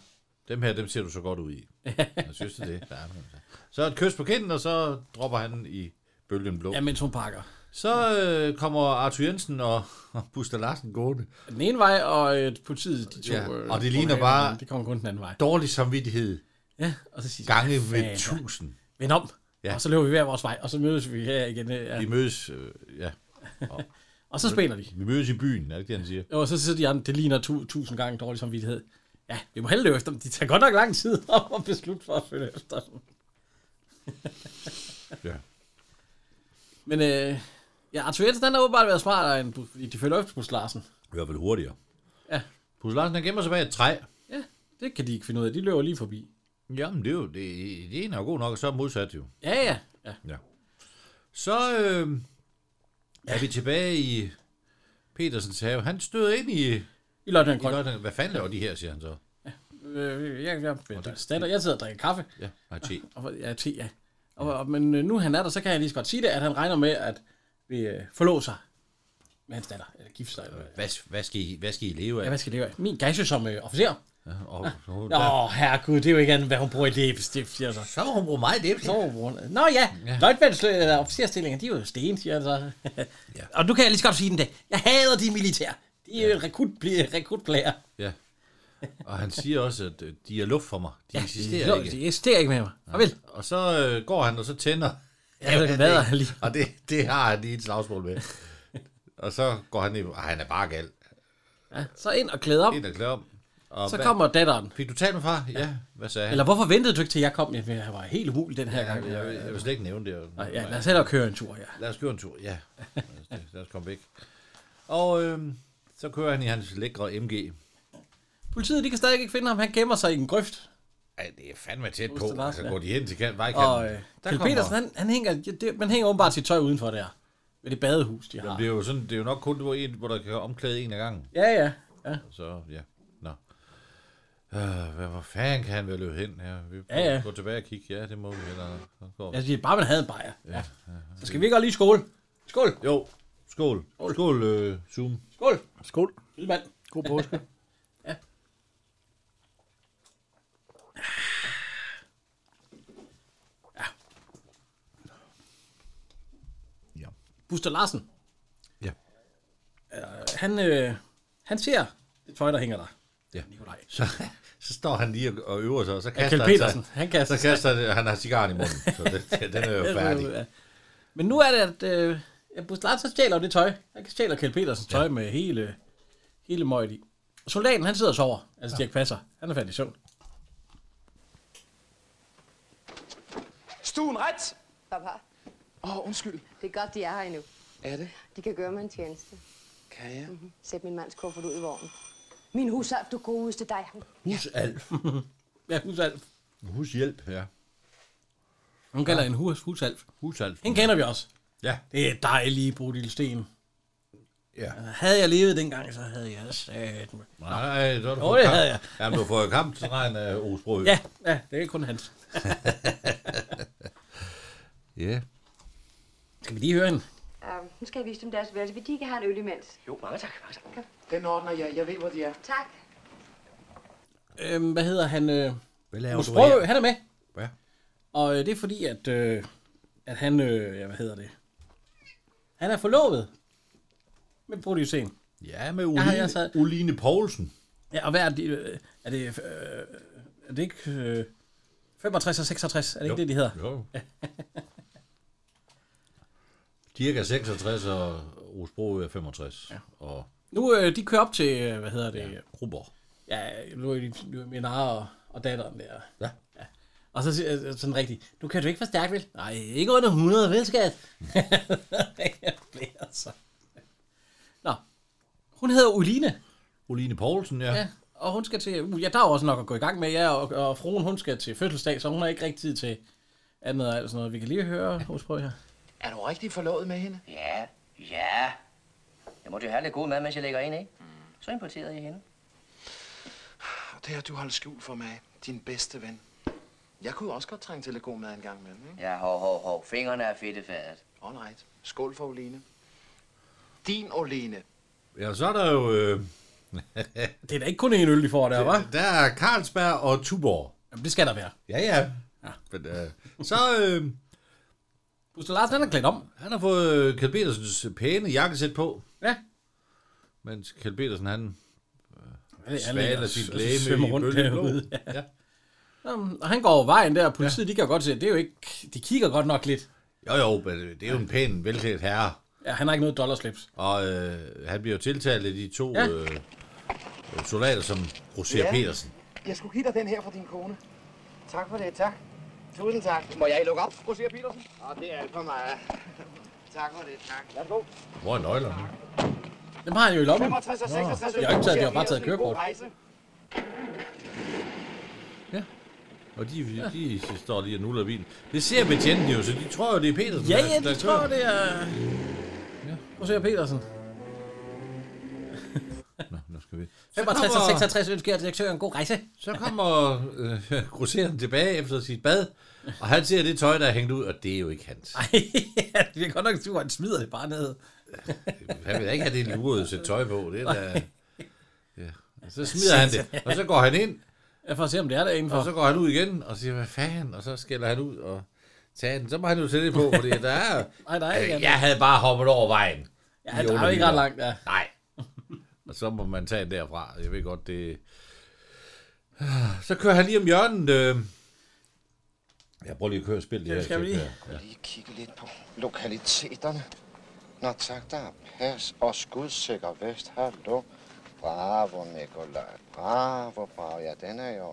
S2: Dem her, dem ser du så godt
S1: [LAUGHS]
S2: ud i. Jeg synes det. er det. Ja, men altså. så et kys på kinden, og så dropper han i bølgen blå.
S1: Ja, mens hun pakker.
S2: Så øh, kommer Arthur Jensen og, [LAUGHS] og Buster Larsen gående.
S1: Den ene vej, og øh, politiet, de to...
S2: Ja,
S1: øh,
S2: og det ligner
S1: organer,
S2: bare-
S1: Det kommer kun den anden vej.
S2: Dårlig samvittighed.
S1: Ja, og så siger de,
S2: Gange
S1: "Hvad
S2: med
S1: fanden, mand?"
S2: tusind.
S1: Vend om,
S2: Ja.
S1: ja. og så løber vi hver vores vej, og så mødes vi her igen. øh, Ja.
S2: Vi mødes, øh, ja. Og,
S1: Og så spænder de.
S2: Vi mødes i byen, er det ikke det, han siger?
S1: Jo, og så sidder de andre, det ligner tu- tusind gange dårlig samvittighed. Ja, vi må hellere løbe efter dem. De tager godt nok lang tid [LAUGHS] om at beslutte for at følge efter dem.
S2: Ja.
S1: Men øh, ja, Arthur Jensen, han har åbenbart været smartere, end Bus- fordi de følger efter Bus Larsen.
S2: I hvert fald hurtigere.
S1: Ja.
S2: Bus Larsen, han gemmer sig bag et træ.
S1: Ja, det kan de ikke finde ud af. De løber lige forbi.
S2: Jamen, det er jo, det, det ene er jo god nok, og så er modsat jo.
S1: Ja, ja. ja.
S2: Ja. Så øh, er vi tilbage i Petersens have. Han støder ind i...
S1: I Løgten
S2: I Løgten. Hvad fanden laver de her, siger han så?
S1: Øh, jeg, jeg, jeg, stander, jeg sidder og drikker kaffe.
S2: Ja, nej, te.
S1: Og, ja, te, ja. Og, og, men øh, nu han er der, så kan jeg lige så godt sige det, at han regner med at vi, øh, forlåse sig med hans datter. Eller gifte sig. Eller,
S2: Hvad, hvad, skal I, hvad skal I leve af?
S1: ja, hvad skal det være? Min gage som øh, officer.
S2: Ja, og, og,
S1: Åh, oh, herregud, det er jo ikke andet, hvad hun bruger i læbestift, siger jeg så.
S2: Så må hun bruge meget læbestift.
S1: Så må hun bruge... Nå ja, ja. løjtmands eller officerstillinger, de er jo sten, siger jeg så. [LAUGHS] ja. Og nu kan jeg lige så godt sige den dag. Jeg hader de militære. De er jo rekrut, rekrutplager.
S2: ja. Og han siger også, at øh, de er luft for mig. De ja, eksisterer
S1: de,
S2: ikke.
S1: De eksisterer ikke med mig. Farvel.
S2: Og så øh, går han, og så tænder.
S1: Ja, så vader han lige.
S2: Og det, det har han lige et slagsmål med. og så går han ind. Ej, han er bare gal.
S1: Ja, så ind og klæder om.
S2: Ind og klæder om. Og
S1: Så
S2: hvad-
S1: kommer datteren.
S2: Fik du talt med far? Ja. ja. Hvad sagde han?
S1: Eller hvorfor ventede du ikke til, jeg kom? Jeg jeg var helt umulig den her
S2: Ja,
S1: gang.
S2: jeg, jeg, vil- jeg vil slet ikke nævne det. Og,
S1: Nå, ja, lad os hellere køre en tur, ja.
S2: Lad os køre en tur, ja. Lad os, det- lad os komme væk. Og øhm, så kører han i hans lækre MG.
S1: Politiet, de kan stadig ikke finde ham. Han gemmer sig i en grøft.
S2: Ej, det er fandme tæt på.
S1: Buster Larsen,
S2: Så
S1: ja.
S2: går de hen til kan, vejkanten.
S1: Og øh,
S2: Der
S1: Kjeld
S2: kommer-
S1: Petersen, han, han hænger, ja, det, man hænger åbenbart sit tøj udenfor der. Ved det badehus, de har.
S2: Jamen, det, er jo sådan, det er jo nok kun, hvor, en, hvor der kan omklæde en af gangen.
S1: Ja, ja. ja.
S2: Så, ja. Nå. Øh, hvad, hvor fanden kan han vel løbe hen her? Vi
S1: Ja, ja.
S2: Gå tilbage og kigge. Ja, det må vi heller. Så går vi.
S1: Jeg siger, bare man havde en bajer.
S2: Ja,
S1: Ja. Så skal vi ikke også lige skåle? Skål!
S2: Jo, skål. Skål, skål øh, Zoom.
S1: Skål!
S14: Skål.
S1: Lille mand.
S14: God påske.
S1: Buster Larsen.
S2: Ja.
S1: Øh, han, øh, han ser det tøj, der hænger der.
S2: Ja.
S1: Nikolaj.
S2: Så, så står han lige og- og øver sig, og så kaster
S1: Kjeld
S2: han
S1: Petersen,
S2: sig.
S1: han kaster
S2: så kaster han, han har cigaren i munden, så det, den er
S1: [LAUGHS]
S2: jo færdig.
S1: Men nu er det, at øh, ja, Buster Larsen så stjæler jo det tøj. Han stjæler Kjeld Petersens tøj ja. med hele, hele møget i. Soldaten, han sidder og sover. Altså, Dirk Passer. Han er faldet i søvn.
S12: Stuen ret!
S13: Papa,
S12: Åh, oh, undskyld.
S13: det er godt, de er her endnu.
S12: Er det?
S13: De kan gøre mig en tjeneste.
S12: Kan jeg?
S13: Mhm. Sæt min mands kuffert ud i vognen. Min husalf, du godeste dig.
S2: Husalf.
S1: ja, husalf.
S2: Hushjælp, ja.
S1: Hun kalder ja. en hus, husalf.
S2: Husalf.
S1: Hende kender vi også.
S2: Ja.
S1: Det er dejlige Bodil Sten.
S2: Ja.
S1: Havde jeg levet dengang, så havde jeg sat mig.
S2: Nej, så har du
S1: Nå,
S2: fået
S1: det
S2: kamp.
S1: havde jeg.
S2: Jamen, du får jo kamp til regn af Osbrø.
S1: Ja, ja, det er kun hans.
S2: ja.
S1: Skal vi lige høre hende?
S9: Uh, nu skal jeg vise dem deres værelse. Vil de ikke have en øl imens?
S12: Jo, mange tak. Mange tak. Den ordner jeg. Jeg ved, hvor de er.
S9: Tak.
S1: Øhm, hvad hedder han? Øh,
S2: Hvad laver
S1: Mogens
S2: du
S1: Broø,
S2: her?
S1: han er med.
S2: Ja.
S1: Og øh, det er fordi, at, øh, at han, øh, ja, hvad hedder det? Han er forlovet med produceren.
S2: Ja, med
S1: Jeg har- jeg
S2: Uline,
S1: sad-
S2: Uline Poulsen.
S1: Ja, og hvad er det? øh, Er det, øh, er det ikke øh, 65 og 66? Er det ikke
S2: Jo.
S1: det, de hedder?
S2: Jo. Dirk er 66, og Osbro er 65. Ja. Og
S1: Nu, øh, de kører op til, øh, hvad hedder det? Ja,
S2: Kronborg.
S1: Ja, nu er det nu er min ar og, og datteren der.
S2: Ja.
S1: ja. Og så siger jeg sådan rigtigt, du kan du ikke for stærkt, vel? Nej, ikke under 100, vel skat? [LAUGHS] jeg bliver så. Nå, hun hedder Uline.
S2: Uline Poulsen, ja.
S1: ja. Og hun skal til, uh, ja, der er jo også nok at gå i gang med, ja, og, og fruen, hun skal til fødselsdag, så hun har ikke rigtig tid til andet og alt sådan noget. Vi kan lige høre hos prøve her.
S15: Er du rigtig forlovet med hende? Ja, ja. Jeg måtte jo have lidt god mad, mens jeg lægger ind, ikke? Mm. Så importerede jeg hende.
S12: Og det har du holdt skjult for mig, din bedste ven. Jeg kunne også godt trænge til lidt god mad en gang imellem, ikke?
S15: Ja, hov, hov, hov. Fingrene er fedtefadet.
S12: All right. Skål for Oline. Din Oline.
S2: Ja, så er der jo... Øh...
S1: det er da ikke kun én øl, de får der, hva'?
S2: Der er Carlsberg og Tuborg.
S1: Jamen, det skal der være.
S2: Ja, ja. ja. Men, øh, så... Øh...
S1: Buster Larsen, han er klædt om.
S2: Han har fået øh, Kjeld Petersens pæne jakkesæt på.
S1: Ja.
S2: Mens Kjeld Petersen, han...
S1: Han
S2: Øh,
S1: ligger
S2: svaler
S1: og
S2: sit
S1: svømmer
S2: læme i
S1: rundt
S2: bølgen.
S1: derude, ja. Nå, men, Og han går over vejen der, og politiet, ja. de kan jo godt se, at det er jo ikke, de kigger godt nok lidt.
S2: Jo, jo, men det er jo en pæn, velklædt herre.
S1: Ja, han har ikke noget dollarslips.
S2: Og øh, han bliver jo tiltalt af de to
S12: Ja.
S2: ja. øh, soldater, som Roser
S12: Ja.
S2: ja. Petersen.
S12: Jeg skulle give dig den her fra din kone. Tak for det, tak. Tusind tak. Må jeg lukke op, Roser Petersen? Ah, det er alt for meget. tak for det, tak. Værsgo.
S2: Hvor er nøglerne?
S1: Dem har han jo i lommen.
S12: 65 og 66.
S1: Nå, de har ikke taget, de har bare taget
S12: Det er en god
S1: kørekort.
S12: rejse.
S2: Og de, ja. de, de står lige og nuller bilen. Det ser betjentene jo, så de tror jo, det er Petersen,
S1: Ja,
S2: der-
S1: ja, de
S2: der
S1: tror,
S2: kører.
S1: det er... Prøv at se her, Petersen.
S2: Nå, nu skal vi...
S1: 65 og 66 ønsker direktøren en god rejse. [LAUGHS]
S2: Så kommer øh, [LAUGHS] grosseren tilbage efter sit bad, og han ser det tøj, der er hængt ud, og det er jo ikke hans.
S1: ja, det er godt nok sur, han smider det bare ned.
S2: Han vil da ikke have det lurede sæt tøj på. Det er da... Ja. Og Så smider han det, og så går han ind.
S1: Ja, for at se, om det er der indenfor.
S2: Og så går han ud igen og siger, hvad fanden? Og så skælder han ud og tager den. Så må han jo sætte det på, fordi der
S1: [LAUGHS]
S2: er...
S1: Nej, der er ikke andet.
S2: jeg havde bare hoppet over vejen.
S1: Ja,
S2: I
S1: der er jo ikke
S2: underbiler.
S1: ret langt, ja.
S2: Nej. Og så må man tage den derfra. Jeg ved godt, det... Så kører han lige om hjørnet. øh. Jeg prøver lige at køre og spille det, her klip her. [LAUGHS] Ja.
S12: Lige kigge lidt på lokaliteterne. Nå tak, der er pas og skudsikker vest. Hallo. Bravo, Nikolaj. Bravo, bravo. Ja, den er jo...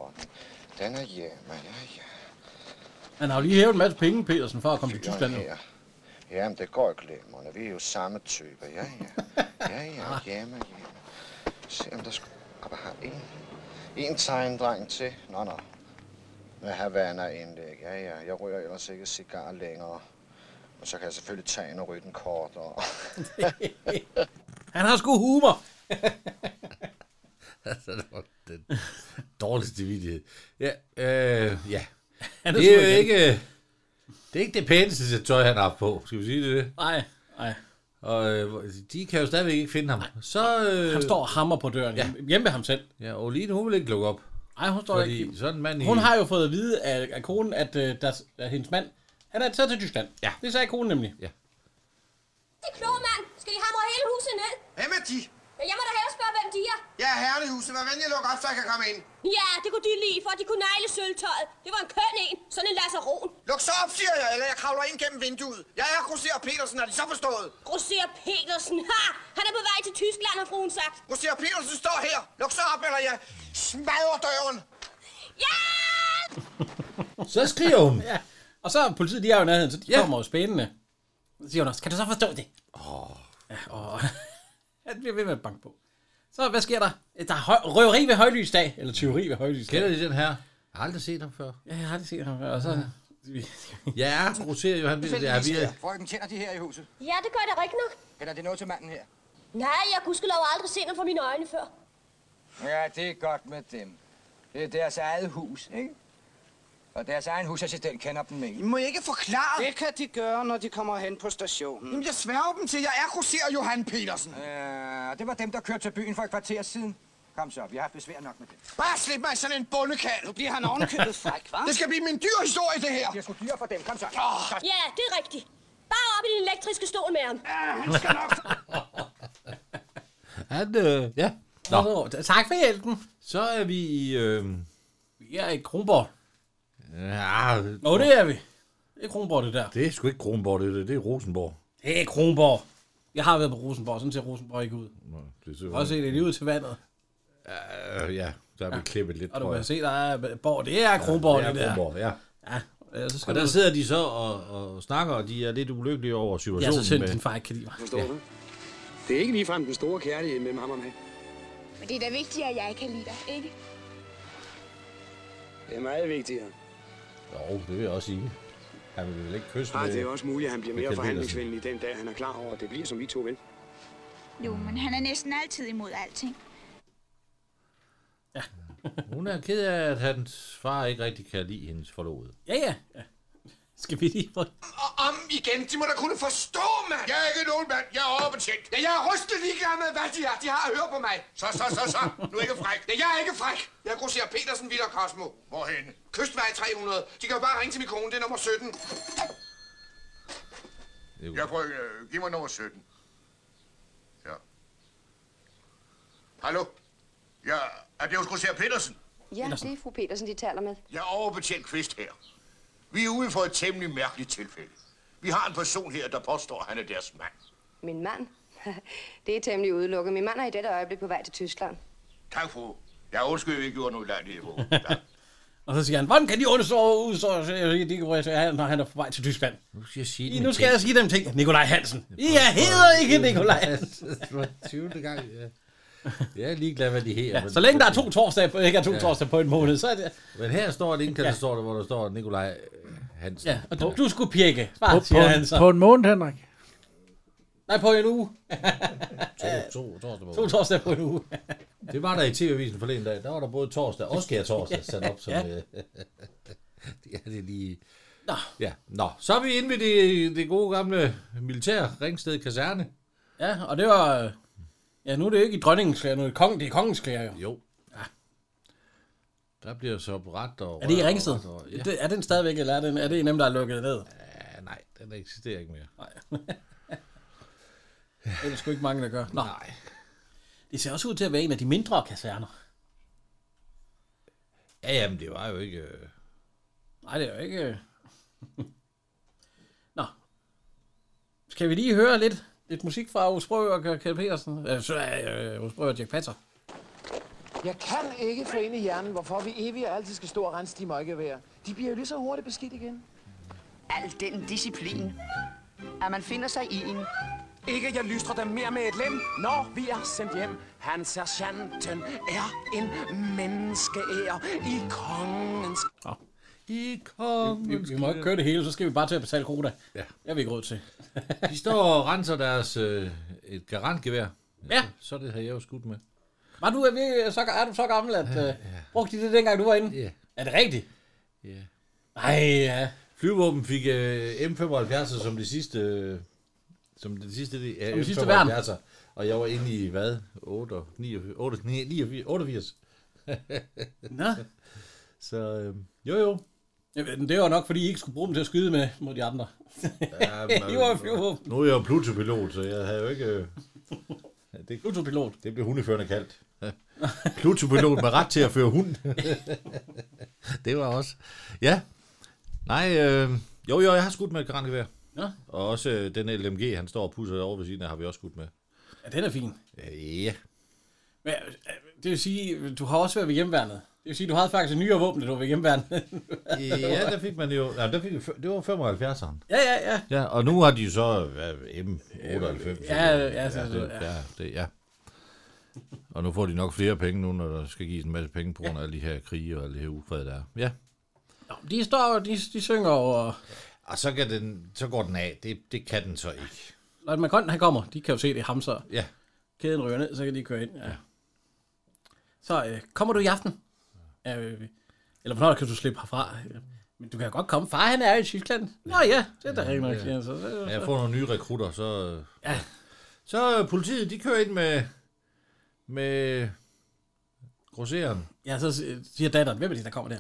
S12: Den er hjemme, ja, ja.
S1: Han har jo lige hævet en masse penge, Petersen, for at komme til Tyskland. Jo.
S12: Jamen, det går ikke glemmerne. Vi er jo samme type, ja, ja. Ja, ja, hjemme, hjemme. Se, om der skulle... Og bare en... En tegndreng til. Nå, nå. Med Havana indlæg. Ja, ja. Jeg ryger ellers ikke cigar længere. Men så kan jeg selvfølgelig tage en og ryge den kort. [LAUGHS] Og...
S1: Han har sgu humor.
S2: Altså, det var den dårligste vidighed. Ja, øh, ja.
S1: [LAUGHS] Han er
S2: det
S1: sur
S2: er jo
S1: igen.
S2: ikke... Det er ikke det pæneste sæt tøj, han har haft på. Skal vi sige det?
S1: Nej, nej.
S2: Og øh, de kan jo stadigvæk ikke finde ham. Så, øh,
S1: Han står og hammer på døren ja. hjemme ved ham selv.
S2: Ja, og Line, hun vil ikke lukke op.
S1: Nej, hun står
S2: Fordi
S1: ikke.
S2: sådan en mand i-
S1: Hun har jo fået at vide af, af konen, at, øh, der, at hendes mand, han er taget til Tyskland. Ja. Det sagde konen nemlig.
S2: Ja.
S16: Det kloge mand. Skal de hamre hele huset ned?
S7: Hvem er de?
S16: Ja, jeg må da hellere spørge, hvem de er.
S7: Jeg er herren i huset. Vær venlig at lukke op, så jeg kan komme ind.
S16: Ja, det kunne de lide, for at de kunne negle sølvtøjet. Det var en køn en. Sådan en lasseron.
S7: Luk så op, siger jeg, eller jeg kravler ind gennem vinduet. Jeg er grosser Petersen, har de så forstået?
S16: Grosser Petersen. Ha! Han er på vej til Tyskland, har fruen sagt.
S7: Grosser Petersen står her. Luk så op, eller jeg smadrer døren.
S2: Så skriver hun.
S1: [LAUGHS] ja. Og så er politiet, de er jo i nærheden, så de ja. kommer jo spændende. Så siger hun også, kan du så forstå det? Åh. Ja, og [LAUGHS] han bliver ved med at banke på. Så hvad sker der? Der er høj, røveri ved højlysdag, eller tyveri ved højlysdag.
S2: Kender de den her? Jeg har aldrig set ham før.
S1: Ja, jeg har aldrig set ham før. Og så...
S2: Ja, grosserer jo, han vil det. Ja, vi er,
S17: Frøken, kender de her i huset?
S16: Ja, det gør det rigtigt nok.
S17: Eller er det noget til manden her?
S16: Nej, jeg kunne lov aldrig se noget for mine øjne før.
S17: Ja, det er godt med dem. Det er deres eget hus, ikke? Og deres egen husassistent kender dem ikke.
S7: I må ikke forklare.
S17: Det kan de gøre, når de kommer hen på stationen.
S7: Jamen, jeg sværger dem til, jeg er grosser Johan Petersen.
S17: Ja, Øh, og det var dem, der kørte til byen for et kvarter siden. Kom så, vi har haft besvær nok med dem.
S7: Bare slip mig sådan en bundekald. Nu
S17: bliver han ovenkøbet fræk, hva'?
S7: Det skal blive min dyr historie, det her.
S17: Jeg skulle dyre for dem, kom så.
S16: Ja, det er rigtigt. Bare op i den elektriske stol med ham.
S7: Ja, han skal nok.
S2: han, øh, ja.
S1: Nå. Tak for hjælpen.
S2: Så er vi i... Øh...
S1: Vi er i Kronborg.
S2: Ja,
S1: Nå, det er vi. Det er Kronborg, det der.
S2: Det er sgu ikke Kronborg, det der. Det er Rosenborg.
S1: Det er Kronborg. Jeg har været på Rosenborg, sådan ser Rosenborg ikke ud. Også se det lige ud til vandet.
S2: Øh, ja, der er vi klippet lidt,
S1: Og du
S2: tror
S1: kan
S2: jeg.
S1: se, der er Borg. Det er Kronborg,
S2: Ja,
S1: det,
S2: det er
S1: der.
S2: Kronborg, ja.
S1: ja. ja så skal
S2: Og der
S1: du-
S2: sidder de så og, og snakker, og de er lidt ulykkelige over situationen.
S1: Ja, så synd,
S2: med-
S1: din far ikke kan lide mig.
S2: Ja.
S11: du? Det er ikke ligefrem den store kærlighed mellem ham og mig.
S9: Men det er da vigtigt, at jeg kan lide dig, ikke?
S11: Det er meget vigtigere.
S2: Jo, det vil jeg også sige. Han vil vel ikke kysse
S11: Ah, det er også muligt, at han bliver
S2: med
S11: mere
S2: Kjeld Petersen.
S11: forhandlingsvenlig den dag, han er klar over, at det bliver, som vi to vil.
S9: Jo, men han er næsten altid imod alting.
S2: Hun er ked af, at hans far ikke rigtig kan lide hendes forlovede.
S1: Ja, ja. ja. Skal vi lige få...
S7: Og om igen, de må da kunne forstå, mand!
S10: Jeg er ikke nogen mand, jeg er overbetjent.
S7: Ja, jeg er rystet ligeglad med, hvad de har, de har at høre på mig.
S10: Så, så, så, så. Nu er ikke fræk.
S7: Ja, jeg er ikke fræk. Jeg grosserer Petersen, Villa Cosmo.
S10: Hvorhen?
S7: Kystvej 300. De kan jo bare ringe til min kone, det er nummer 17.
S10: Jeg prøver, øh, giv mig nummer 17. Ja. Hallo? Ja, er det hos Grosser Petersen?
S13: Ja, det er fru Petersen, de taler med.
S10: Jeg er overbetjent Kvist her. Vi er ude for et temmelig mærkeligt tilfælde. Vi har en person her, der påstår, at han er deres mand.
S13: Min mand? det er temmelig udelukket. Min mand er i dette øjeblik på vej til Tyskland.
S10: Tak, fru. Jeg undskylder, at vi ikke gjorde noget landet, fru. Ja.
S1: Og så siger han, hvordan kan de undersøge ud, så så jeg ikke, hvor jeg siger, når han er på vej til Tyskland.
S2: Nu skal jeg sige
S1: I, nu skal jeg sige dem ting. Nikolaj Hansen. Jeg hedder ikke
S2: [LAUGHS]
S1: Nikolaj Hansen.
S2: Det var 20. gang, ja. Jeg er ligeglad, hvad de her.
S1: Ja, så længe der er to torsdage, på, ikke er to ja. torsdage på en måned, så er det...
S2: Men her står et indkast,
S1: Ja.
S2: ja. står der, hvor der står Nikolaj øh, Hansen.
S1: Ja, og du, du skulle pirke,
S2: På-
S1: bare,
S2: på
S1: siger
S2: en-
S1: han så.
S14: På en måned, Henrik.
S1: Nej, på en uge.
S2: To, to, torsdag på.
S1: to torsdage på en uge.
S2: Det var der i TV-avisen forleden dag. Der var der både torsdag og skær torsdag sat op som...
S1: Ja.
S2: Ja. ja, [LAUGHS] det er lige...
S1: Nå.
S2: Ja, nå. Så er vi inde ved det, det gode gamle militær Ringsted Kaserne.
S1: Ja, og det var... øh, Ja, nu er det jo ikke i dronningens klæder, nu er det, kong, det er kongens klæder jo.
S2: Jo. Der bliver så ret og...
S1: Er det i
S2: rør og
S1: Ringsted?
S2: ret og- Ja.
S1: Det- Er den stadigvæk, eller er, den, er det en af dem, der er lukket ned?
S2: ja, nej, den eksisterer ikke mere.
S1: Nej. Det er der sgu ikke mange, der gør. Nå. Nej. Det ser også ud til at være en af de mindre kaserner.
S2: Ja, jamen, det var jo ikke... øh,
S1: Nej, det er jo ikke... øh. [LAUGHS] Nå. Skal vi lige høre lidt, lidt musik fra Osbrø og Kjell Petersen? Øh, så er øh, Osbrø og Jack Patter.
S18: Jeg kan ikke få ind i hjernen, hvorfor vi evigt og altid skal stå og rense de møggeværer. De bliver jo lige så hurtigt beskidt igen.
S19: Al den disciplin, at man finder sig i en.
S18: Ikke jeg lystrer dem mere med et lem, når vi er sendt hjem. Han sergeanten er en menneskeære i kongens...
S2: I
S1: Vi, vi må ikke køre det hele, så skal vi bare til at betale koda.
S2: Ja.
S1: Det har vi ikke råd til.
S2: De står og renser deres øh, et garantgevær.
S1: Ja.
S2: Så, så det havde jeg jo skudt med.
S1: Var du, er, vi, så, er du så gammel, at ja, ja. brugte de det, dengang du var inde?
S2: Ja.
S1: Er det rigtigt?
S2: Ja.
S1: Ej, ja.
S2: Flyvåben fik øh, M75 som det sidste... Øh, som det sidste, det, ja,
S1: Som det sidste
S2: M75'er. Og jeg var inde i hvad? 8, 9, 8, 9, 88.
S1: Nå.
S2: Så øh, jo jo.
S1: Jamen, det var nok, fordi I ikke skulle bruge dem til at skyde med mod de andre.
S2: Ja,
S1: I var jo flyvåben.
S2: Nu er jeg jo Pluto-pilot, så jeg havde jo ikke... Øh, ja, det,
S1: Pluto-pilot?
S2: Det blev hundeførende kaldt. Pluto-pilot med ret til at føre hund. [LAUGHS] det var også... Ja. Nej, øh, jo jo, jeg har skudt med et grangevær.
S1: Nå.
S2: Og også øh, den LMG, han står og pusser over ved siden af, har vi også skudt med.
S1: Ja, den er fin.
S2: Ja.
S1: Men, øh, det vil sige, du har også været ved hjemmeværnet. Det vil sige, du havde faktisk en nyere våben, da du var ved hjemmeværnet.
S2: Ja, der fik man jo... Nej, der fik, vi f- det var 75'eren.
S1: [LAUGHS] Ja, ja, ja.
S2: Ja, og nu har de jo så hvad, M98.
S1: Ja, ja, så-
S2: ja, det,
S1: ja.
S2: ja, det, ja. Og nu får de nok flere penge nu, når der skal gives en masse penge på grund af alle de her krige og alle de her ufred, der er. Ja.
S1: Nå, de står og de, de synger over...
S2: Og så, kan den, så går den af. Det, det kan den så ikke.
S1: Når McConn, han kommer, de kan jo se, det er ham så.
S2: Ja.
S1: Kæden ryger ned, så kan de køre ind. Ja. Så øh, kommer du i aften? Ja, øh, eller hvornår kan du slippe herfra? Ja. Men du kan jo godt komme. Far, han er i Tyskland. Nå ja, det er da rent nok. siger han Så, så,
S2: Men jeg
S1: så.
S2: får nogle nye rekrutter, så... øh,
S1: Ja.
S2: Så øh, politiet, de kører ind med... Med... Grosseren.
S1: Ja, så siger datteren, hvem er det, der kommer der?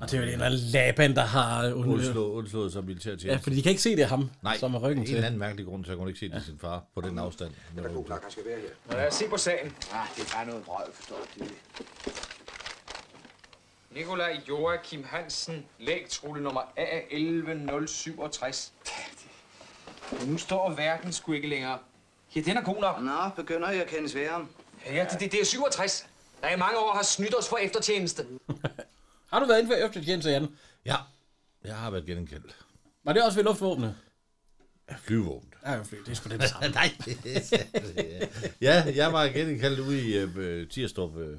S1: Og det er jo en eller anden Laban, der har und-
S2: Undslået, undslået sig militærtjeneste.
S1: Ja, fordi de kan ikke se, det er ham,
S2: Nej,
S1: som er ryggen
S2: en
S1: til.
S2: eller anden mærkelig grund til, at hun ikke se, det er sin far på den afstand. Det er god
S7: nok, han skal være her.
S17: Nå, lad os se på sagen. Ah, det er bare noget brød, forstår du. Nikolaj Joachim Hansen, lægtrulle nummer A11067. Nu står verden sgu ikke længere. Ja, den er god nok.
S7: Nå, begynder jeg at kende sværen.
S17: Ja, det, det, det er 67. Der i mange år har snydt os for eftertjeneste.
S1: Har du været inde for eftertjeneste, Jan?
S2: Ja, jeg har været genkendt.
S1: Var det også ved luftvåbnet?
S2: Flyvevåbnet.
S1: Ja, jo, fordi det er sgu [LAUGHS] den samme.
S2: Nej, det er Ja, jeg var genkendt ude i øh, Tirstrup øh,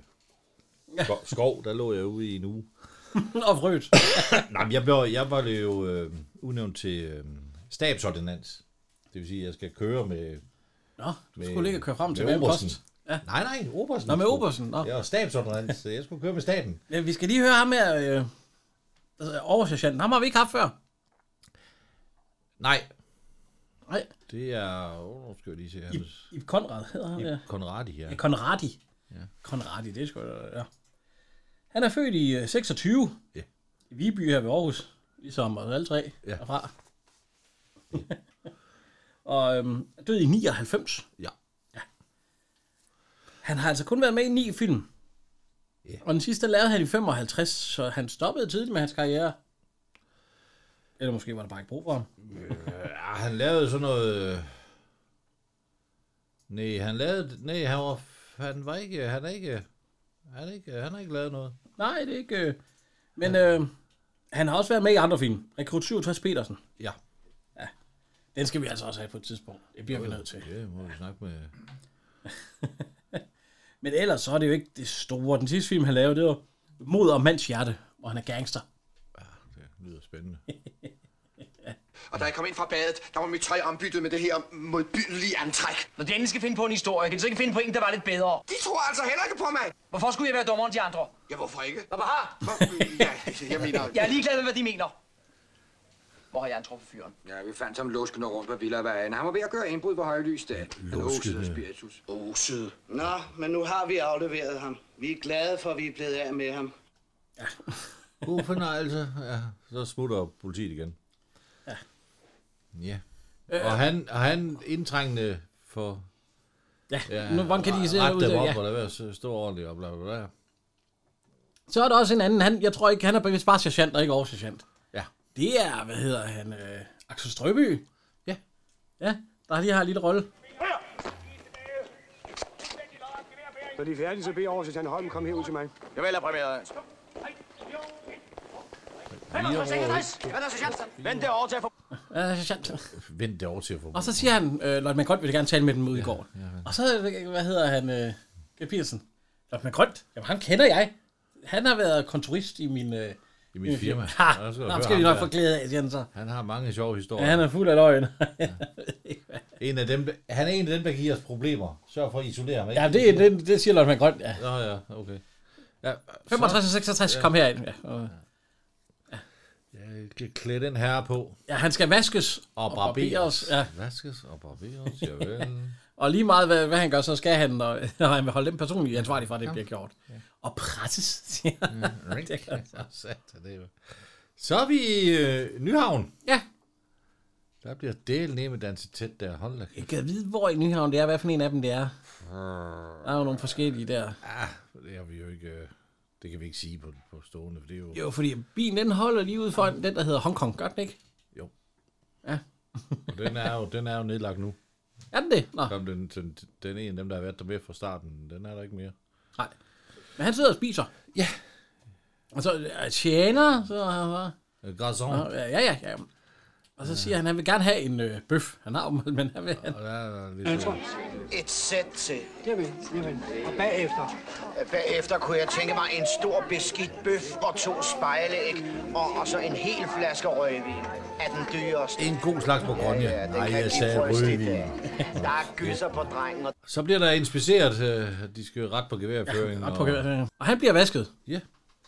S2: sko- skov. Der lå jeg ude i en uge.
S1: Og frøs.
S2: Nej, men jeg, blev, jeg var jo øh, udnævnt til øh, stabsordinans. Det vil sige, at jeg skal køre med...
S1: Nå, du skulle ikke køre frem til
S2: med
S1: hver post.
S2: obersten.
S1: Ja.
S2: Nej, nej, Obersen.
S1: Nå, med
S2: Jeg skulle-
S1: Obersen, nå.
S2: Jeg var stabsordinans, så jeg skulle køre med staten.
S1: Ja, vi skal lige høre ham her, øh, altså, oversergeanten. Ham har vi ikke haft før.
S2: Nej.
S1: Nej.
S2: Det er... Åh, nu skal jeg lige se her.
S1: I Konrad hedder han, ja.
S2: I Konradi, ja.
S1: Ja, Konradi.
S2: Ja.
S1: Konradi, det er sgu da, ja. Han er født i øh, 26.
S2: Ja.
S1: I Viby her ved Aarhus. Ligesom os alle tre
S2: Ja.
S1: derfra. [LAUGHS] og øhm, er død i 99.
S2: Ja.
S1: Han har altså kun været med i ni film. Yeah. Og den sidste lavede han i 55, så han stoppede tidligt med hans karriere. Eller måske var der bare ikke brug for ham.
S2: Ja, han lavede sådan noget... øh, Nej, han lavede... Nej, han var... Han var ikke... Han er ikke... Han er ikke... Han har ikke lavet noget.
S1: Nej, det er ikke... Øh. Men øh, han har også været med i andre film. Rekrut 67 Petersen.
S2: Ja.
S1: Ja. Den skal vi altså også have på et tidspunkt. Det bliver vi nødt til.
S2: Det må vi snakke med...
S1: Men ellers så er det jo ikke det store. Den sidste film, han lavede, det var Mod og mands hjerte, hvor han er gangster.
S2: Det lyder spændende.
S7: Og da jeg kom ind fra badet, der var mit tøj ombyttet med det her modbydelige antræk.
S17: Når de endelig skal finde på en historie, kan de så ikke finde på en, der var lidt bedre?
S7: De tror altså heller ikke på mig.
S17: Hvorfor skulle jeg være dummere end de andre?
S7: Ja, hvorfor ikke?
S17: Hvad har?
S7: Ja, jeg mener...
S17: Jeg er ligeglad med, hvad de mener. Hvor har jeg en truffet fyren?
S7: Ja, vi fandt ham luskende rundt på Villavejen. Han var ved at gøre indbrud på højlys dag. Han osede af spiritus. Osede.
S4: Nå, men nu har vi afleveret ham. Vi er glade for, at vi er blevet af med ham.
S2: God fornøjelse. Ja, så smutter politiet igen. Ja. Ja. Og han, og han indtrængende for...
S1: Ja, nu, hvordan kan de se
S2: ud
S1: ud
S2: dem
S1: til-
S2: op,
S1: ja.
S2: og der vil stå ordentligt og bla bla bla.
S1: Så er der også en anden. Han, jeg tror ikke, han er vist bare sergeant og ikke oversergeant.
S2: Ja.
S1: Det er, hvad hedder han? Øh, Axel Strøby.
S2: Ja.
S1: Ja, der lige har en lille rolle.
S11: Når de er færdige, så beder jeg over, at Holm kom herud til mig.
S17: Jeg vælger præmieret. Vend det over til at få...
S1: Ja, sergeant.
S2: Vend det over til at få...
S1: Og så siger han, øh, Lloyd McGrønt vil gerne tale med dem ude i går. Og så, øh, hvad hedder han, øh, Gert Petersen? Lloyd McGrønt? Jamen, ham kender jeg. Han har været kontorist i min... Øh,
S2: I
S1: [LAUGHS]
S2: mit firma.
S1: Ha,
S2: Ja, så
S1: nå,
S2: hør
S1: skal vi
S2: ham
S1: nok
S2: der.
S1: få glæde af, siger han så.
S2: Han har mange sjove historier.
S1: Ja, han er fuld af
S2: [LAUGHS]
S1: løgn.
S2: En af dem, han er en af dem, der giver os problemer. Sørg for at isolere ham. ikke?
S1: ja, det, det, det siger Lloyd McGrønt, ja.
S2: Nå ja, okay. Ja,
S1: 65 og 66, kom herind. Ja, og,
S2: Jeg kan klæde den her på.
S1: ja, han skal vaskes
S2: Og barberes.
S1: Ja.
S2: Vaskes og barberes, javel.
S1: Og lige meget, hvad, hvad han gør, så skal han, [LAUGHS] når, når han vil holde dem personligt ansvarlig for, at det
S2: Ja. Mm.
S1: bliver gjort. Og presses, siger han. Det gør han så.
S2: [LAUGHS] Satan, det er jo- Så er vi i øh, Nyhavn.
S1: Ja.
S2: Der bliver del ned med danset tæt der. Hold da
S1: Jeg
S2: kæft.
S1: kan vide, hvor i Nyhavn det er, hvad for en af dem det er. Der er jo nogle forskellige der.
S2: Ah, det har vi jo ikke... øh, Det kan vi ikke sige på, på stående, for det er jo...
S1: Jo, fordi bilen den holder lige ude foran den, der hedder Hong Kong, gør den ikke?
S2: Jo.
S1: Ja.
S2: Og den er jo, den er jo nedlagt nu.
S1: Er den det? Nå.
S2: Kom, den, den, den ene af dem, der har været der med fra starten, den er der ikke mere.
S1: Nej. Men han sidder og spiser. Ja. Og så øh, tjener, så... så-
S2: Øh, Garçon.
S1: Nå, Ja, ja, ja. ja. Og så siger han, at han vil gerne have en øh, bøf. Han har jo, [LAUGHS] men han vil have
S2: Og der er lidt...
S4: Et sæt til. Øh,
S11: Jamen, jamen. Og bagefter.
S4: Bagefter kunne jeg tænke mig en stor beskidt bøf og to spejlæg, og, og så en hel flaske rødvin af den dyreste.
S2: En god slags på grønne.
S4: Ja, ja, den
S2: Nej,
S4: kan
S2: jeg
S4: give
S2: sagde
S4: folk lidt,
S2: rødvin.
S4: øh, Der er gyser på drengen, og
S2: Så bliver der inspiceret, øh, at de skal ret på geværføringen.
S1: op på og... og han bliver vasket.
S2: Ja.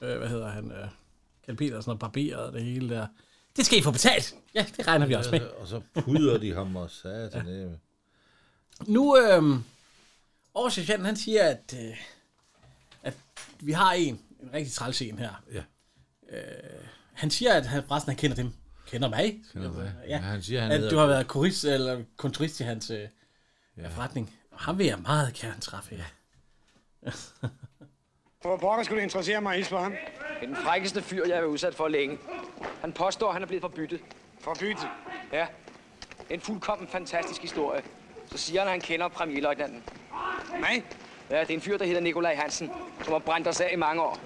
S1: Øh, hvad hedder han? Øh, Kjell Petersen og barberet og det hele der. Det skal I få betalt. Ja, det regner vi også med.
S2: Og så pudrer de ham og satan. Ja.
S1: Nu, øh, Aarhus han siger, at, øh, at vi har en, en rigtig træls en her.
S2: Ja.
S1: Øh, han siger, at han, forresten han kender dem. Kender mig?
S2: Kender mig.
S1: Ja,
S2: Ja, han siger, han
S1: at
S2: hedder-
S1: du har været korist, eller kontorist i hans øh, ja. forretning. Og ham vil jeg meget gerne træffe, ja.
S11: Hvor pokker skulle det interessere mig at hilse på ham?
S20: Det er den frækkeste fyr, jeg har været udsat for længe. Han påstår, at han er blevet forbyttet. Forbyttet? Ja. En fuldkommen fantastisk historie. Så siger han, at han kender premierløjtnanten. Nej? Ja, det er en fyr, der hedder Nikolaj Hansen, som har brændt os af i mange år.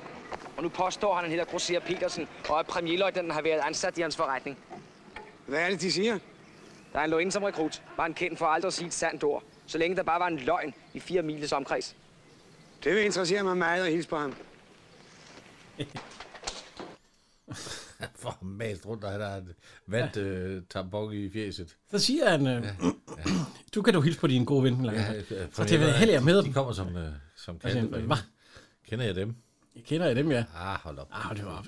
S20: Og nu påstår han, at han hedder Grosser Petersen, og at premierløjtnanten har været ansat i hans forretning. Hvad er det, de siger? Da han lå inde som rekrut, var han kendt for aldrig at sige et sandt ord, så længe der bare var en løgn i fire miles omkreds.
S11: Det vil interessere mig meget at hilse på ham.
S2: [LAUGHS] For mast rundt, og han har et vandt øh, tampon i fjeset.
S1: Så siger han, øh, ja. [CLEARS THROAT] du kan du hilse på din gode ven. Ja,
S2: Ja, øh, ja,
S1: så det vil jeg hellere med
S2: De
S1: dem.
S2: kommer som, øh, som
S1: Altså,
S2: katte.
S1: hva?
S2: Altså, Kender jeg dem?
S1: Jeg kender jeg dem, ja.
S2: Ah, hold op.
S1: Ah, hold nu op.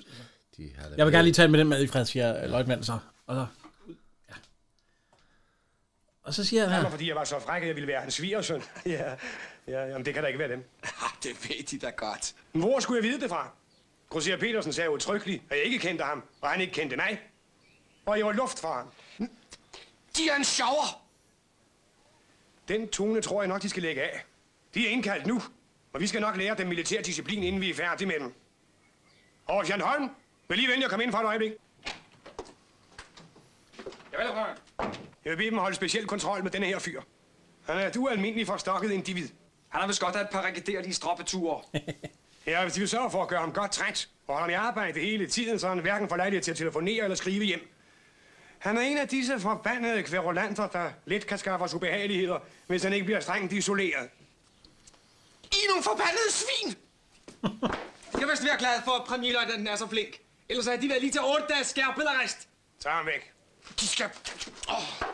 S2: De har
S1: Jeg vil gerne lige tale med den mad i fred, siger øh, løjtmanden så. Og så, ja. og så siger
S11: Det
S1: han
S11: var,
S1: her,
S11: fordi jeg var så fræk, at jeg ville være hans svigersøn. ja, ja, jamen, det kan da ikke være dem.
S7: Det ved de da godt.
S11: Men hvor skulle jeg vide det fra? Grosser Petersen sagde utryggeligt, at jeg ikke kendte ham, og han ikke kendte mig. Og jeg var luft for ham.
S7: De er en sjover.
S11: Den tone tror jeg nok, de skal lægge af. De er indkaldt nu, og vi skal nok lære dem militær disciplin, inden vi er færdige med dem. Og Jan Holm, vil lige vente at komme ind for et øjeblik? Jeg vil, jeg vil bede dem holde speciel kontrol med denne her fyr. Han er et ualmindeligt forstokket individ. Han har vist godt af et par regarderlige stroppeture. ja, hvis de vil sørge for at gøre ham godt træt, og holde ham i arbejde hele tiden, så han hverken får lejlighed til at telefonere eller skrive hjem. Han er en af disse forbandede kverulanter, der let kan skaffe os ubehageligheder, hvis han ikke bliver strengt isoleret.
S7: I er nogle forbandede svin!
S11: Jeg vil være glad for, at premierløjtnanten er så flink. Ellers havde de været lige til 8 dages skærpet arrest. Tag ham væk. De skal... Oh.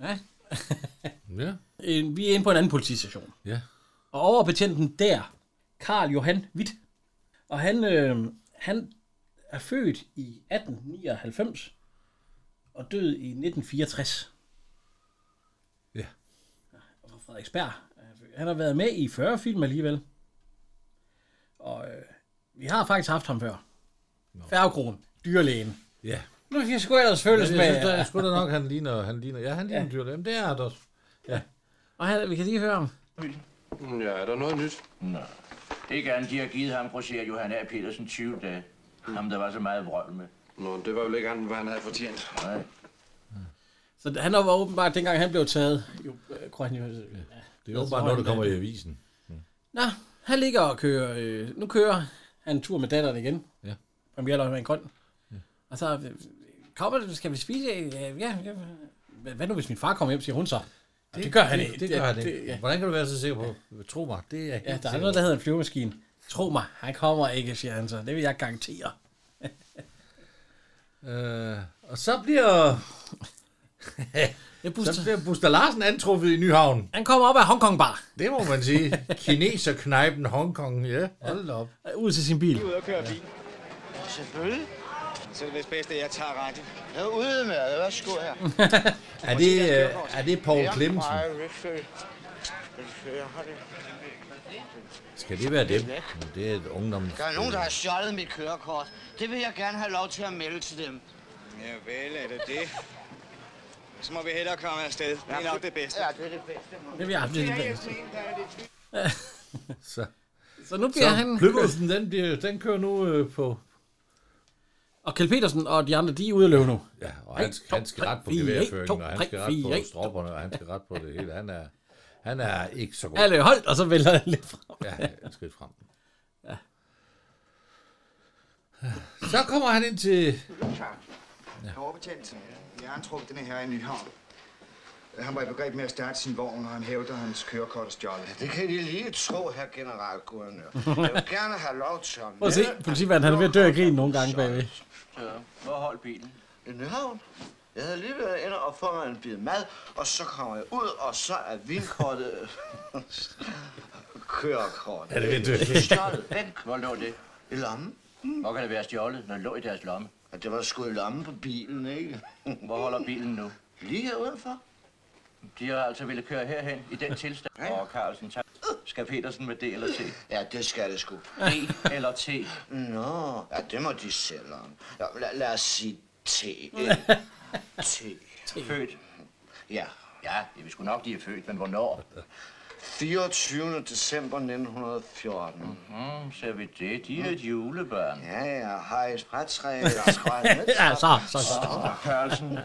S1: ja.
S2: ja.
S1: En- vi er inde på en anden politistation.
S2: Ja.
S1: Og overbetjenten der, Karl Johan Witt, og han, øh, han er født i 1899 og død i 1964.
S2: Ja.
S1: Og fra Frederiksberg. Han har været med i 40 film alligevel. Og øh, vi har faktisk haft ham før. Færgekron, dyrlægen.
S2: Ja.
S1: Nu skal jeg sgu ellers følges
S2: Ja,
S1: med.
S2: Jeg synes, da- jeg synes da nok, han ligner, han ligner, ja, han ligner ja.
S1: Ja.
S2: en dyrlæge. Jamen, det er han også. Ja.
S1: Og her, vi kan lige høre ham.
S20: Ja, er der noget nyt?
S21: Nej. Ikke andet, de har givet ham grosserer Johan A. Petersen 20 dage. Ham, der var så meget vrøvl med. Nå, det var vel ikke andet, hvad han havde fortjent. Nej.
S1: Så han var åbenbart, dengang han blev taget. Jo, øh, Grøn, jo, øh,
S2: Det er åbenbart noget, der kommer i avisen.
S1: Nå, han ligger og kører. Øh, nu kører han en tur med datteren igen.
S2: Ja.
S1: Premierløg med en grøn. Og så øh, kommer det, skal vi spise? Ja, ja, ja. Hvad- Hvad nu, hvis min far kommer hjem, siger hun så? Det, det gør han ikke.
S2: Det, det gør han ikke.
S1: Det, ja.
S2: Hvordan kan du være så sikker på? Tro mig, det er jeg helt
S1: ja, der er
S2: sikker
S1: noget,
S2: på.
S1: der hedder en flyvemaskine. Tro mig, han kommer ikke, siger han så. Det vil jeg garantere.
S2: Øh, og så bliver...
S1: Buster-
S2: så bliver Buster Larsen antruffet i Nyhavn.
S1: Han kommer op af Hongkong Bar.
S2: Det må man sige. Kineserknejpen Hongkong, ja. Hold da op.
S1: øh, Ud til sin bil.
S22: Ud og køre bil.
S12: Selvfølgelig.
S22: Så er det vist bedst, at jeg tager radio.
S12: Jeg er ude med det. Værsgo her.
S2: Er det, øh, er det Paul
S12: Ja,
S2: Clemmensen?
S12: nej, Rigsø. Rigsø, jeg har det.
S2: Skal det være dem? Men Det er et ungdom.
S12: Der er nogen, der har stjålet mit kørekort. Det vil jeg gerne have lov til at melde til dem.
S22: Ja vel, er det det? Så må vi hellere komme afsted. Det er nok det bedste.
S12: Ja, det er det bedste.
S1: Det vil jeg have det bedste.
S2: Så,
S1: [LAUGHS] Så nu bliver
S2: så
S1: han-
S2: Plymouth'en, den, bliver, den kører nu øh, på...
S1: Og Kjeld Petersen og de andre, de er ude at løbe nu.
S2: Ja, og han, skal- han skal ret på geværføringen, og han skal ret på stropperne, og han skal ret på det hele. Han er, han er ikke så god.
S1: Alle holdt, og så vælger han lidt frem.
S2: Ja, et skridt frem. Ja. Så kommer han ind til...
S4: Ja. Overbetjent. Jeg har antrukket denne her i Nyhavn. Han var i begreb med at starte sin vogn, og han hævder hans kørekort er stjålet.
S12: Det kan de lige tro, her
S7: [LAUGHS]
S12: generalguvernør. Jeg vil gerne have lov til at
S1: Prøv at se, politimanden, han er ved at dø af grin nogle gange bagved.
S12: Ja, hvor holdt bilen? I Nyhavn. Jeg havde lige været inde og få mig en bid mad, og så kommer jeg ud, og så er vinkortet... kørekortet.
S21: Er det ved at dø?
S12: Stjålet. Væk. Hvor lå det? I lommen. Hvor kan det være stjålet, når det lå i deres lomme? At det var sgu i lommen på bilen, ikke?
S21: Hvor holder bilen nu?
S12: Lige her udenfor.
S21: De har altså ville køre herhen i den tilstand. Og Carlsen, tak.
S10: Skal Petersen med D eller T?
S12: Ja, det skal det sgu.
S10: D eller T?
S12: Nå, ja, det må de selv om. Ja, lad, lad os sige
S23: [LAUGHS]
S12: T. T.
S10: Født.
S12: Ja.
S10: Ja, det er vi sgu nok, de er født, men hvornår?
S12: 24. december 1914.
S10: Mm, ser vi det? De er et julebørn.
S12: Ja, ja. Hej, sprætræ.
S23: [LAUGHS]
S12: Skræt.
S1: Ja,
S23: altså.
S1: så, så, så.
S10: Carlsen.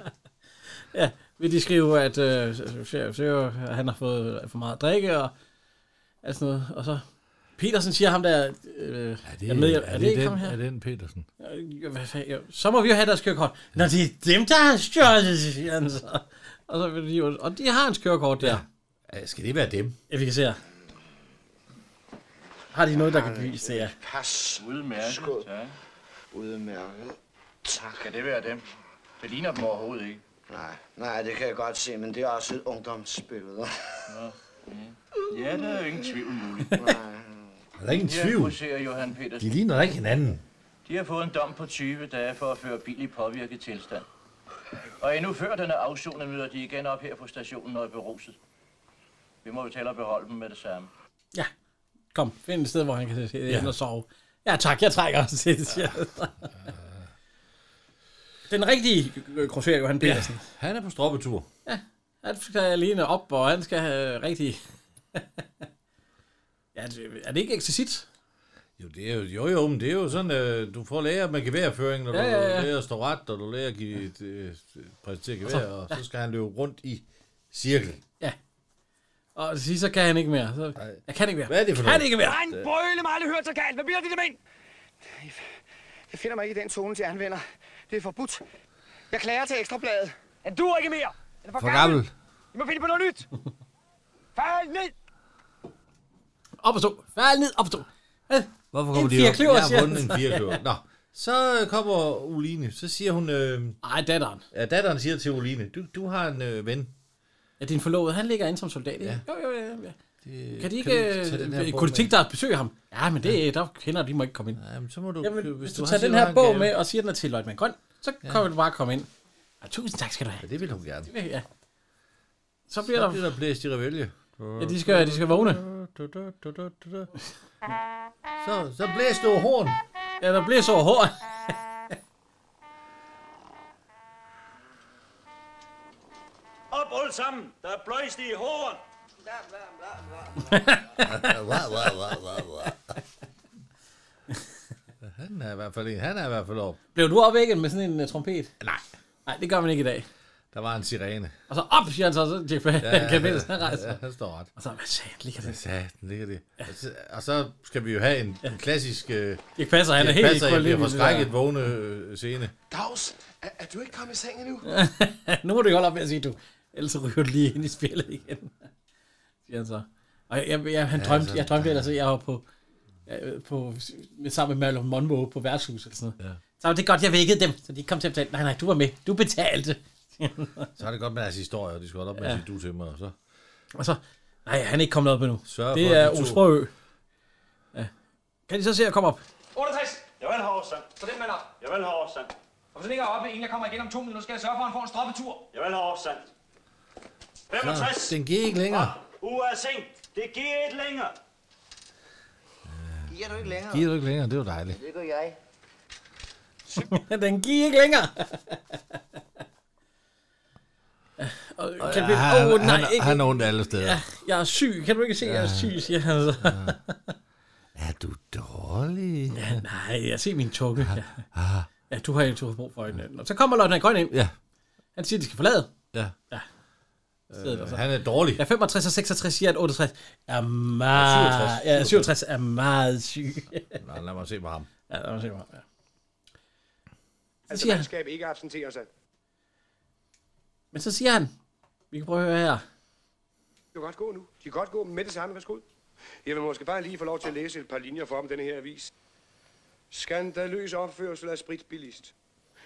S1: Ja, vil de skrive, at øh, Sjæv Sjæv, han har fået for meget at drikke og alt sådan noget. Og så Petersen siger ham der... Øh, er
S24: det- er det den-
S1: ham her?
S24: er det den Petersen?
S1: Øh, hvad fanden, jo. Så må vi jo have deres kørekort. Nå, det er dem, der har stjålet, siger han så. Og, så vil de jo, og de har hans kørekort der.
S2: Ja, skal det være dem?
S1: Ja, vi kan se her. Har de noget, der kan bevise det, ja.
S12: Pas.
S10: Udmærket,
S12: Skud.
S10: tak.
S12: Udmærket. Tak.
S10: Kan det være dem? Det ligner dem overhovedet ikke.
S12: Nej, nej, det kan jeg godt se, men det er også et ungdomsbillede.
S10: Ja, der er jo ingen tvivl muligt.
S2: Er der ingen
S10: Her
S2: tvivl?
S10: poserer Johan Petersen.
S2: De ligner da ikke hinanden.
S10: De har fået en dom på 20 dage for at føre bil i påvirket tilstand. Og endnu før den er afsonet, møder de igen op her på stationen og er beruset. Vi må jo tælle og beholde dem med det samme.
S1: Kom, find et sted, hvor han kan sidde
S10: Ja.
S1: ja. og sove. Ja tak, jeg trækker også til det, siger han. Den rigtige øh, grosserer Johan Petersen.
S2: Han er på stroppetur.
S1: Han skal alene op, og han skal have rigtig... [LAUGHS] ja, det- er det ikke eksercit?
S2: Jo, det er jo, jo, jo, men det er jo sådan, øh, du får lærer med geværføring, når
S1: Ja,
S2: ja,
S1: ja,
S2: ja,
S1: ja.
S2: du lærer at stå ret, og du lærer at give, øh, præsentere
S1: Og så-
S2: gevær, og
S1: ja.
S2: så skal han løbe rundt i cirkel.
S1: Og til sidst, så kan han ikke mere. Så, jeg kan ikke mere.
S2: Hvad er det for
S1: kan
S2: noget?
S1: ikke mere.
S11: Nej, en brøle mig aldrig hørt så galt. Hvad bliver det, det men? Jeg finder mig ikke i den tone, de anvender. Det er forbudt. Jeg klager til Ekstrabladet. Den duer ikke mere. Den er for,
S2: For gammel.
S11: I må finde på noget nyt. Fald ned!
S1: Op og stå. Fald ned, op og stå.
S2: Hvorfor
S1: En
S2: kommer de
S1: fire
S2: op?
S1: kløver,
S2: Jeg
S1: siger
S2: har vundet
S1: han
S2: en
S1: så.
S2: firekløver. Nå, så øh, kommer Uline, så siger hun... Øh,
S1: Ej, datteren.
S2: Ja, datteren siger til Uline, du, du har en øh, ven.
S1: Ja, din forlovede, han ligger inde som soldat. Ja. Jo, jo, jo. ja. Kan de ikke... øh, Kunne de tænke dig at besøge ham? Ja, men det, der kender de må ikke komme ind.
S2: Jamen, så må du...
S1: Jamen,
S2: hvis
S1: hvis
S2: du
S1: du
S2: har
S1: tager
S2: selv
S1: den her
S2: har en
S1: bog
S2: gave.
S1: med og siger, den er til Løjtmann Grøn, så
S2: Ja.
S1: kan du bare komme ind. Ja, Ah, tusind tak skal du have.
S2: Ja, det vil hun gerne.
S1: Det vil- Ja. Så
S2: Så
S1: bliver der...
S2: bliver der blæst i revælge.
S1: Ja, de skal, de skal vågne.
S2: Så, så blæs du horn.
S1: Ja, der bliver så hård.
S25: Op alle sammen, der er bløjst i håret.
S2: Han er i hvert fald en. Han er i hvert fald op.
S1: Blev du opvækket med sådan en uh, trompet?
S2: Nej.
S1: Nej, det gør man ikke i dag.
S2: Der var en sirene.
S1: Og så op, siger han så, så Jack Black, ja, kan vinde, han rejser.
S2: Ja, han står ret.
S1: Og så, hvad sagde han, ligger
S2: Hvad
S1: det?
S2: sagde den? Ligger det? Og så- Og så skal vi jo have en, en klassisk... Øh,
S1: Dirch Passer, han er helt
S2: Passer, jeg
S1: kold
S2: bliver
S1: ind i det
S2: forskrækket
S1: der.
S2: vågne øh, scene.
S26: Dags, er, er du ikke kommet i seng endnu?
S1: nu må du ikke holde op med at sige, du. Ellers så ryger du lige ind i spillet igen. siger han så. Og jeg, jeg, jeg, han
S2: Ja,
S1: drømte,
S2: så-
S1: jeg drømte ellers, at jeg var på, øh, på med, sammen med Marlon Monroe på værtshuset. Eller sådan noget. Ja. Så var det godt, jeg vækkede dem, så de ikke kom til at betale. Nej, nej, du var med. Du betalte.
S2: Så er det godt med deres historie, og de skal holde op med
S1: Ja.
S2: at sige, du til mig. Og så.
S1: Og så, nej, han er ikke kommet op endnu.
S2: Sørg for,
S1: det
S2: at
S1: er
S2: de to-
S1: Osprøø. Ja. Kan de så se at komme op? [LAUGHS]
S11: 68!
S25: Jeg vil have overstand.
S11: Så den mand op.
S25: Jeg vil have overstand.
S11: Og hvis den ikke er oppe, inden jeg kommer igen om to minutter, skal jeg sørge for, at han får en stroppetur.
S25: Jeg vil have overstand.
S2: Så,
S25: 65.
S2: den gik ikke længere.
S11: Ah.
S25: Uge af seng. Det giver et længere.
S23: Giver du ikke længere?
S2: Giver du ikke længere, det var dejligt.
S23: Det gør jeg.
S1: Den giver ikke længere. [LAUGHS] Og
S2: Ja,
S1: kan vi...
S2: han,
S1: Åh, oh, nej,
S2: han,
S1: ikke.
S2: han er ondt alle steder.
S1: Ja, jeg er syg. Kan du ikke se, at jeg er syg, siger han så.
S2: Er du dårlig?
S1: Ja, nej, jeg ser min tunge. Ja. [LAUGHS] ja, du har ikke du har brug for øjnene. Og så kommer Løgten Grøn ind.
S2: Ja.
S1: Han siger, at de skal forlade.
S2: Ja.
S1: ja.
S2: Øh, han er dårlig.
S1: Ja, 65 og 66 siger, at 68 er
S2: Og
S1: meget...
S2: 67.
S1: 67. Ja, 67 er meget syg.
S2: Nå, lad mig se på ham.
S1: ja, lad mig se, hvor ja.
S11: Altså,
S1: siger han.
S11: mandskab ikke absenterer sig.
S1: Men så siger han, vi kan prøve at høre her.
S11: De kan godt gå nu. De kan godt gå med det samme. Værsgo. Jeg vil måske bare lige få lov til at læse et par linjer for om den her avis. Skandaløs opførsel af spritbilist.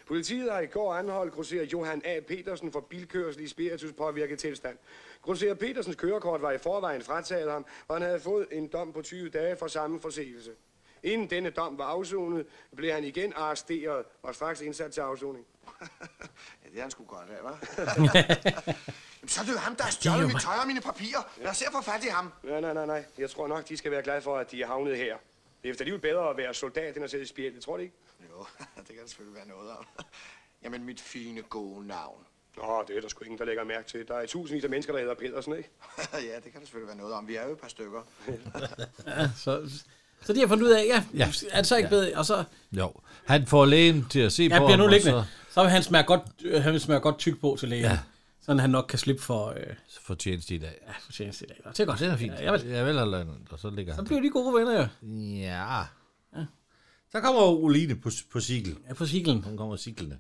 S11: Politiet har i går anholdt grosserer Johan A. Petersen for bilkørsel i spiritus påvirket tilstand. Grosserer Petersens kørekort var i forvejen frataget ham, og han havde fået en dom på 20 dage for samme forseelse. Inden denne dom var afsonet, blev han igen arresteret og straks indsat til afsoning.
S7: Ja, det er han sgu godt af, hva'?
S8: Jamen, så er det jo ham,
S7: Der er stjålet mit tøj og mine papirer.
S8: Lad os se at få fat i ham.
S11: Nej, nej, nej, nej. Jeg tror nok, de skal være glade for, at de er havnet her. Det er efter livet bedre at være soldat, end at sidde i spjæl. Det tror du ikke?
S7: Jo, [LAUGHS] det kan der selvfølgelig være noget om. Jamen, mit fine, gode navn. [LAUGHS]
S11: Nå, det er der sgu ingen, der lægger mærke til. Der er tusindvis af mennesker, der hedder Pedersen, ikke?
S7: ja, det kan der selvfølgelig være noget om. Vi er jo et par stykker.
S1: Ja, så, så de har fundet ud af, ja, ja.
S2: Ja.
S1: er det så ikke
S2: Ja.
S1: bedre? Og så,
S2: Jo, han får lægen til at se
S1: ja,
S2: på
S1: bliver nu
S2: ham, og
S1: liggende. Så, vil han smager godt, øh, han smager godt tyk på til lægen. Ja. Sådan han nok kan slippe for... Øh,
S2: så får tjeneste i dag.
S1: Ja, for tjeneste i dag. Det er godt.
S2: Det er fint.
S1: Ja,
S2: Ja,
S1: jeg vil,
S2: vel. Ja, vel eller andet, og så ligger
S1: så
S2: han.
S1: bliver de gode venner jo.
S2: Ja. Så kommer Oline på, på cykel.
S1: Ja, på cyklen.
S2: Hun kommer cyklene.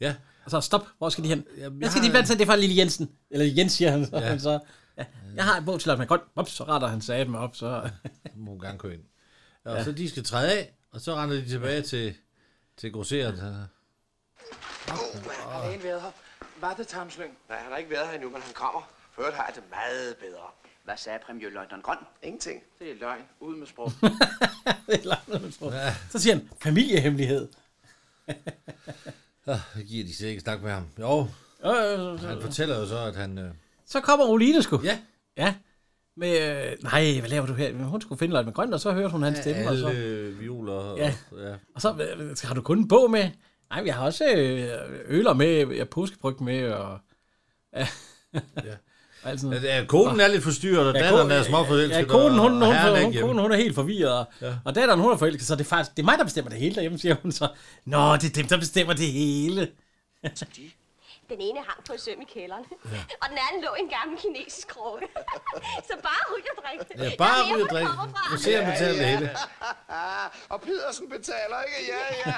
S2: Ja.
S1: Og så stop. Hvor skal de hen? Ja, Hvad skal
S2: har-
S1: de blandt sig? Det er fra Lille Jensen. Eller Jens, siger han så.
S2: Ja.
S1: Ja. så ja. Jeg har en bog til at man godt. Op, så retter han sagde dem op. Så. [LAUGHS]
S2: må gerne køre ind. Og
S1: Ja.
S2: så de skal træde af, og så render de tilbage til, til grosseren.
S5: Har lægen været her? Var det Tamslyng?
S6: Nej, han har ikke været her endnu, men han kommer. For øvrigt har jeg det meget bedre.
S5: Hvad sagde premierløjtnant Grøn?
S6: Ingenting. Det er løgn. Ud med [LAUGHS] sprog.
S1: det er langt, man tror. Så siger han, familiehemmelighed.
S2: Ah, Så giver de sikkert ikke snak med ham. Jo,
S1: Jo, jo, jo, jo.
S2: han fortæller jo så, at han... Øh,
S1: Øh, Så kommer Oline sgu. Ja. Ja. Med, øh, nej, hvad laver du her? Men Hun skulle finde Løjt med Grøn, og så hørte hun hans stemme. og
S2: alle
S1: så,
S2: øh, violer. Og,
S1: Ja.
S2: ja.
S1: og så øh, har du kun en bog med? Nej, men jeg har også øh, øler med, jeg påskebryg med, og... [LAUGHS] Ja. og alt sådan noget.
S2: Ja, konen er lidt forstyrret, og datteren
S1: ko-
S2: er småforelsket,
S1: Ja, konen, hun, hun,
S2: og herren er
S1: hun,
S2: ikke
S1: hun,
S2: hjemme.
S1: konen, hun er helt forvirret, og,
S2: Ja.
S1: ja. og datteren, hun er forelsket, så det er faktisk det er mig, der bestemmer det hele derhjemme, siger hun så. Nå, det er dem, der bestemmer det hele.
S16: Den ene hang på et søm i kælderen, ja. og den anden lå i en gammel kinesisk
S2: [LAUGHS]
S16: krukke. så bare ryg og drik.
S2: Ja, bare
S16: Jeg er
S2: ryg og
S16: på
S2: drik.
S16: forfra.
S2: Nu ser jeg, om betaler det hele.
S6: Ah,
S5: Og Pedersen betaler, ikke? Ja, ja.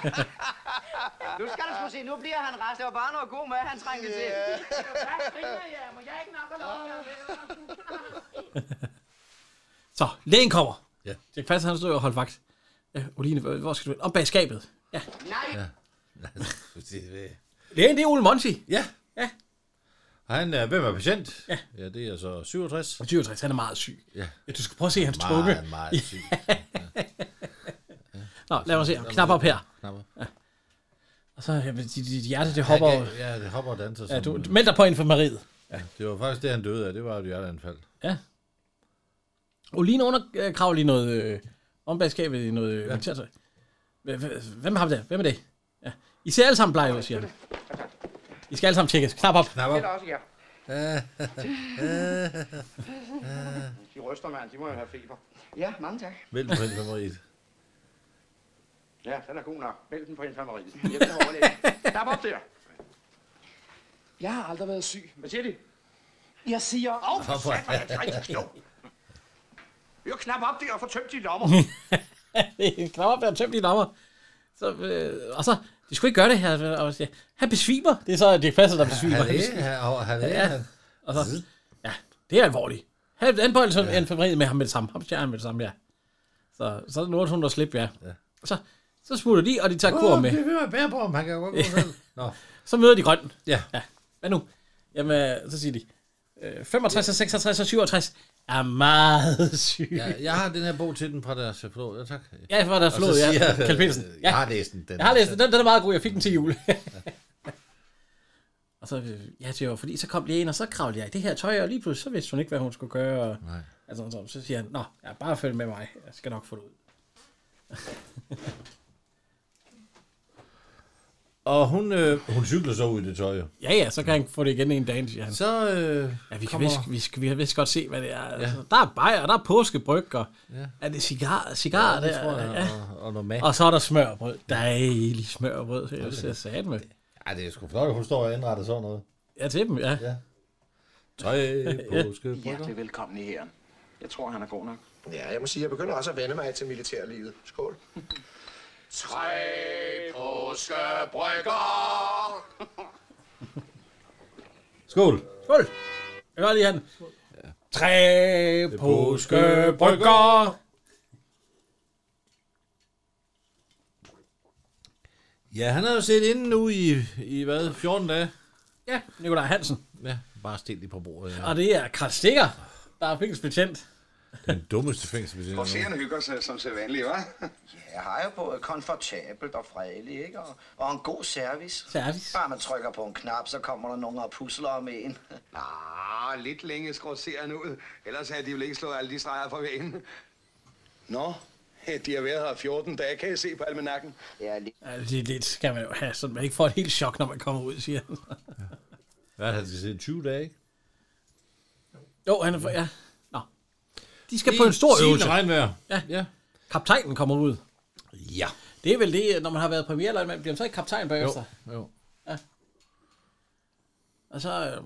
S5: [LAUGHS] nu skal du sgu se, nu bliver han rest. Det var bare noget god mad, han trængte til.
S27: Ja.
S5: [LAUGHS] jeg? Må jeg ikke nok
S1: Så, lægen kommer.
S2: Ja.
S1: Det passer, han står og holder vagt. Ja, Oline, hvor hvor skal du hen? Op bag skabet. Ja.
S2: Ja. Det er-
S1: Lægen, det er Ole Monsi.
S2: Ja.
S1: Ja.
S2: Og han er, hvem er patient? Ja. ja, det er så 67.
S1: 67, han er meget syg.
S2: Ja.
S1: ja du skal prøve at se hans
S2: Meget,
S1: tunge.
S2: meget syg.
S1: Ja. Nå, lad mig se. Knap op her.
S2: Knap op.
S1: Ja. Og så, ja, men dit, dit hjerte, det [LAUGHS] hopper.
S2: Han kan- ja, det hopper og danser.
S1: Ja,
S2: som-
S1: du, du meld dig på infirmeriet.
S2: Ja, det var faktisk det, han døde af. Det var et hjerteanfald.
S1: Ja. Oline undergraver lige noget øh, om bag skabet i noget ja. militærtøj. Hv- hv- Hvem er ham der? Hvem er det? Ja. I ser alle sammen blege ud, siger han. I skal alle sammen tjekkes. Knap op. [LAUGHS]
S2: Knap
S5: Eller
S2: [LAUGHS]
S5: også jer.
S6: De ryster, mand. De må jo have feber.
S5: Ja, mange tak.
S2: Vælg på
S1: [LAUGHS]
S2: infirmeriet.
S6: Ja, den er god nok. Meld den på infirmeriet. Jeg vil overlæge. Stap op der.
S5: Jeg har aldrig været syg.
S6: Hvad siger de?
S5: Jeg siger...
S6: Åh, oh, for satan, hvor er det træt, jo. Jo, knap op der og få tømt de lommer.
S1: Knap op, der er tømt dine lommer. Så, øh, og så, de skulle ikke gøre det her. Og, ja, han besvimer. Det er så, at det passer, der besvimer.
S2: Han er-
S1: besvimer.
S2: han- han er- han-
S1: Og så, ja, det er alvorligt. Han anbøjelse ja. infirmeriet med ham med det samme. Ham stjerner med det samme, ja. Så, så nåede hun at slippe, ja. ja. Så, så smutter de, og de tager kur
S2: Åh,
S1: med.
S2: Det vil man bære på ham. Han kan jo
S1: [LAUGHS]
S2: godt gå selv. Nå.
S1: Så møder de grøn.
S2: Ja.
S1: ja. Hvad nu? Jamen, øh, så siger de, øh, 65, og 66 og 67 er meget [LAUGHS] syge.
S2: Ja, jeg har den her bog til den fra deres flod. Ja, tak.
S1: Ja, for der er
S2: Og så
S1: flod, ja.
S2: siger-
S1: Kjeld
S2: [LAUGHS]
S1: Petersen. Ja.
S2: Jeg har læst den. den
S1: jeg har læst den. Den, den er meget god. Jeg fik den til jul. [LAUGHS] og så, øh, ja, det var fordi, så kom lægen, og så kravlede jeg i det her tøj, og lige pludselig, så vidste hun ikke, hvad hun skulle gøre. Og,
S2: Nej.
S1: Altså, så, så siger han, nå, ja, bare følg med mig. Jeg skal nok få det ud.
S2: Og hun, øh, hun cykler så ud i det tøj. jo.
S1: Ja, ja, så kan han få det igen en dag, siger han.
S2: Så, øh,
S1: ja, vi kan,
S2: kommer-
S1: vist, vi, skal, vi kan vist godt se, hvad det er. Ja. Der er bajer, der er påskebryg, og
S2: Ja.
S1: ja. er det cigar, cigar
S2: Ja, det
S1: der?
S2: tror jeg,
S1: ja.
S2: og- og noget mad.
S1: og så er der smørbrød. Dejlig smørbrød,
S2: er
S1: jeg,
S2: det.
S1: jeg sagde med.
S2: Ej, det er sgu flot, at hun står og indretter sådan noget.
S1: Ja, til dem, ja.
S2: ja. Tre påskebryg.
S6: Hjertelig velkommen i herren. Jeg tror, han er god nok.
S8: Ja, jeg må sige, jeg begynder også at vende mig til militærlivet. Skål.
S6: Tre
S8: påskebrygger.
S2: Skål.
S1: Skål. Jeg gør lige han. Tre påskebrygger.
S2: Ja, han har jo set inden nu i, i hvad, 14 dage?
S1: Ja, Nikolaj Hansen.
S2: Ja, bare stil lige på bordet. Ja.
S1: Og det er Karl Stikker, der er fængselsbetjent.
S2: Den dummeste fængsel.
S6: Forseerne hygger sig som sædvanligt, hva'?
S4: Ja, har jo både komfortabelt og fredeligt, ikke? Og, og en god service.
S1: Service?
S4: Bare man trykker på en knap, så kommer der nogen og pusler om en. [LAUGHS]
S6: Ah, lidt længe skorserende ud. Ellers havde de vel ikke slået alle de streger fra væggen. Nå, de har været her 14 dage, kan jeg se på almanakken.
S4: Ja, lige.
S1: Altså, det, det skal man jo have, så man ikke får et helt chok, når man kommer ud, siger han.
S2: Hvad har det siddet 20 dage, ikke?
S1: Jo, han er for, ja. Nå. De skal på en stor øvelse.
S2: regnvejr.
S1: Ja. ja. Kaptajnen kommer ud.
S2: Ja.
S1: Det er vel det, når man har været premierløjtnant, bliver man så ikke kaptajn bagefter? Jo.
S2: Jo.
S1: Og så... Øh,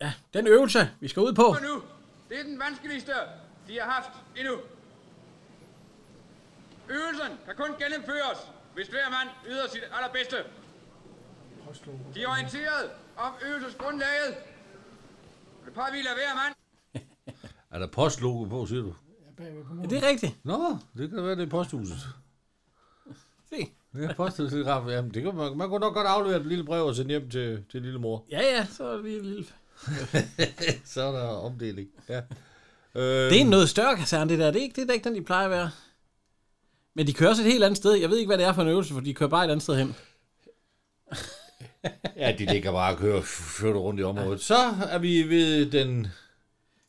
S1: ja, den øvelse, vi skal ud på.
S9: Og nu, det er den vanskeligste, de har haft endnu. Øvelsen kan kun gennemføres, hvis hver mand yder sit allerbedste. De er orienteret om øvelsesgrundlaget. Og Det påviler hver mand.
S2: Er der postlogo på, siger du?
S1: Er det rigtigt?
S2: Nå, det kan da være, det er posthuset.
S1: Se.
S2: Det er posthuset, Jamen, det kan man, man kunne nok godt aflevere et lille brev og sende hjem til, til lille mor.
S1: Ja, ja, så er vi en lille...
S2: så er der omdeling. Ja.
S1: Det er
S2: Øhm.
S1: en noget større kaserne, det der. Det er ikke, det er da ikke den, de plejer at være. Men de kører også et helt andet sted. Jeg ved ikke, hvad det er for en øvelse, for de kører bare et andet sted hen.
S2: Ja, de ligger bare og kører flytter rundt i området. Så er vi ved den...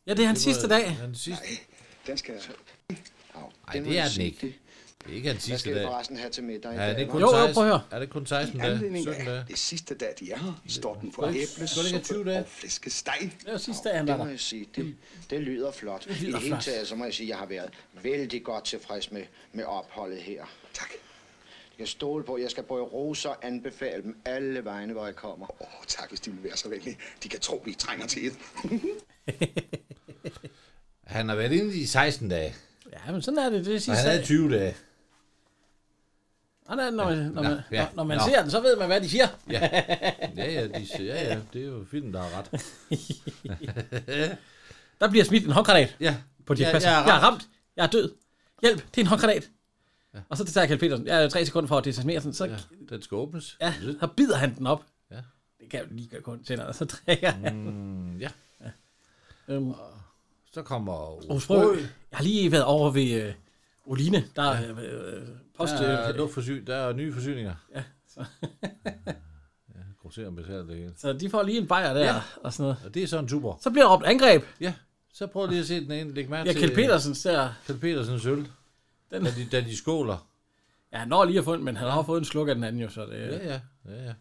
S1: Ja, det er hans
S2: var
S1: sidste dag.
S2: Hans sidste...
S6: Den skal...
S2: Nej, det er den ikke. Det er ikke hans
S12: Hvad
S2: sidste
S12: skal vi
S2: dag.
S12: forresten have til middag i
S2: Ja, det er
S12: dag?
S2: kun
S12: hva'?
S2: 16, Er det kun 16
S6: I
S2: dage?
S6: anledning
S2: 17 dage?
S6: af det sidste dag, de er her, står den for
S2: Skulle det ikke- skulle det ikke
S6: æblesuppe og flæskesteg.
S1: Det var sidste dag, han
S12: Det
S1: var
S12: må
S1: der.
S12: jeg sige,
S2: Mm.
S12: det, det lyder flot.
S1: Det
S12: I
S1: lyder
S12: det hele
S1: flot.
S12: taget, så må jeg sige, at jeg har været vældig godt tilfreds med, med opholdet her. Tak. Jeg kan stole på, at jeg skal både rose og anbefale dem alle vegne, hvor jeg kommer.
S6: Åh, oh, tak, hvis de vil være så venlige. De kan tro, vi trænger til et.
S2: Han har været inde i 16 dage,
S1: Ja, men sådan er det. Det er
S2: og
S1: sidste
S2: han havde
S1: dag.
S2: 20 dage.
S1: Sådan er det, når man, når man,
S2: Nå, ja.
S1: når- når man
S2: Nå.
S1: ser den, så ved man, hvad de siger.
S2: Ja, ja, ja, de, siger- ja, ja det er jo filmen, der har ret.
S1: Der bliver smidt en håndgranat.
S2: Ja.
S1: På de
S2: Ja,
S1: ja,
S2: jeg
S1: jeg,
S2: er ramt.
S1: jeg er ramt. Jeg er død. Hjælp, det er en håndgranat. Ja. Og så det tager Kjeld Petersen. Jeg er tre sekunder for at desarmere sådan. Så, ja.
S2: Den skal åbnes.
S1: ja, så bider han den op.
S2: Ja.
S1: Det kan jo lige gøre kun til, og så trækker han.
S2: Mm, ja.
S1: Øhm,
S2: Så kommer
S1: Aarhus Brø. Jeg har lige været over ved øh, Oline. Der er øh, øh, post...
S2: Der er,
S1: Øh,
S2: luftforsyn, der er nye forsyninger.
S1: ja, så,
S2: Ja, Grosseren betaler det hele.
S1: så de får lige en bajer der
S2: Ja.
S1: ja. og sådan noget.
S2: Og det er sådan super.
S1: Så bliver der råbt angreb.
S2: Ja, så prøv lige at se den ene. Læg mærke
S1: Ja,
S2: til
S1: Kjeld Petersens der...
S2: Kjeld Petersens øl.
S1: Den-
S2: Da, de, da de skåler.
S1: Ja, han når lige at få en, men han har fået en sluk af den anden jo, så det,
S2: Ja, ja. ja, ja.
S1: det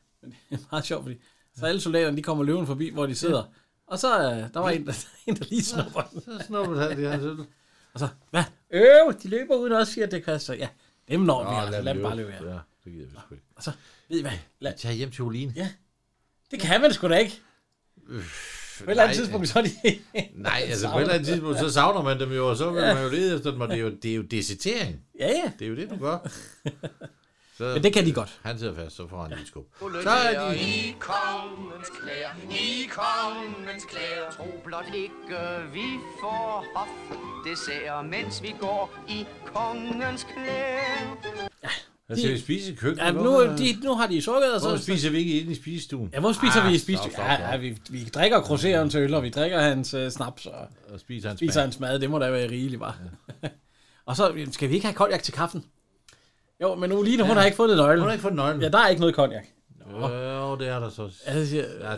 S1: er [LAUGHS] meget sjovt, fordi så alle soldaterne, de kommer løven forbi, hvor de sidder. Ja. Og så øh, der var en, der, [LAUGHS] en, der lige snupper den.
S2: Så snupper han det hans øl.
S1: Og så, hvad? Øh, de løber uden os, siger det kaster. Ja, dem når vi, altså. Lad dem bare løbe, ja.
S2: Ja, det gider vi sgu ikke.
S1: Og så, ved I hvad? Lad,
S2: Tag hjem til Oline.
S1: Ja. det kan man sgu da ikke. På et eller andet tidspunkt, så er de... [LAUGHS]
S2: Nej, altså på et
S1: savner.
S2: eller andet tidspunkt, så savner man dem jo, og så vil
S1: Ja.
S2: man jo lede efter dem, og det er jo, det er jo desertering.
S1: Ja, ja.
S2: Det er jo det, du gør. Så,
S1: Men det kan de godt.
S2: Han sidder fast, så får han ja. en skub.
S15: Så
S2: Så er de...
S15: i kongens klæder, i kongens klæder. Tro blot ikke, vi får hof dessert, mens vi går i kongens klæder.
S2: Han Altså, skal vi spise i køkkenet.
S1: Ja, nu,
S2: Hvorfor-
S1: de, nu har de sukket, og så...
S2: Hvorfor spiser vi ikke inde i spisestuen?
S1: Ja, hvor spiser ah, vi i spist?
S2: stop, stop,
S1: Ja,
S2: stop.
S1: ja, vi, vi drikker croisserens øl, og vi drikker hans øh, snaps, og,
S2: Og spiser hans
S1: spiser
S2: mad.
S1: hans mad. Det må da være rigeligt, var. Ja. [LAUGHS] og så skal vi ikke have konjak til kaffen. Jo, men Oline, hun
S2: Ja.
S1: har ikke fundet nøglen.
S2: Hun har ikke fundet nøglen.
S1: Ja, der er ikke noget konjak.
S2: Jo, det er der så.
S1: Altså,
S2: ja,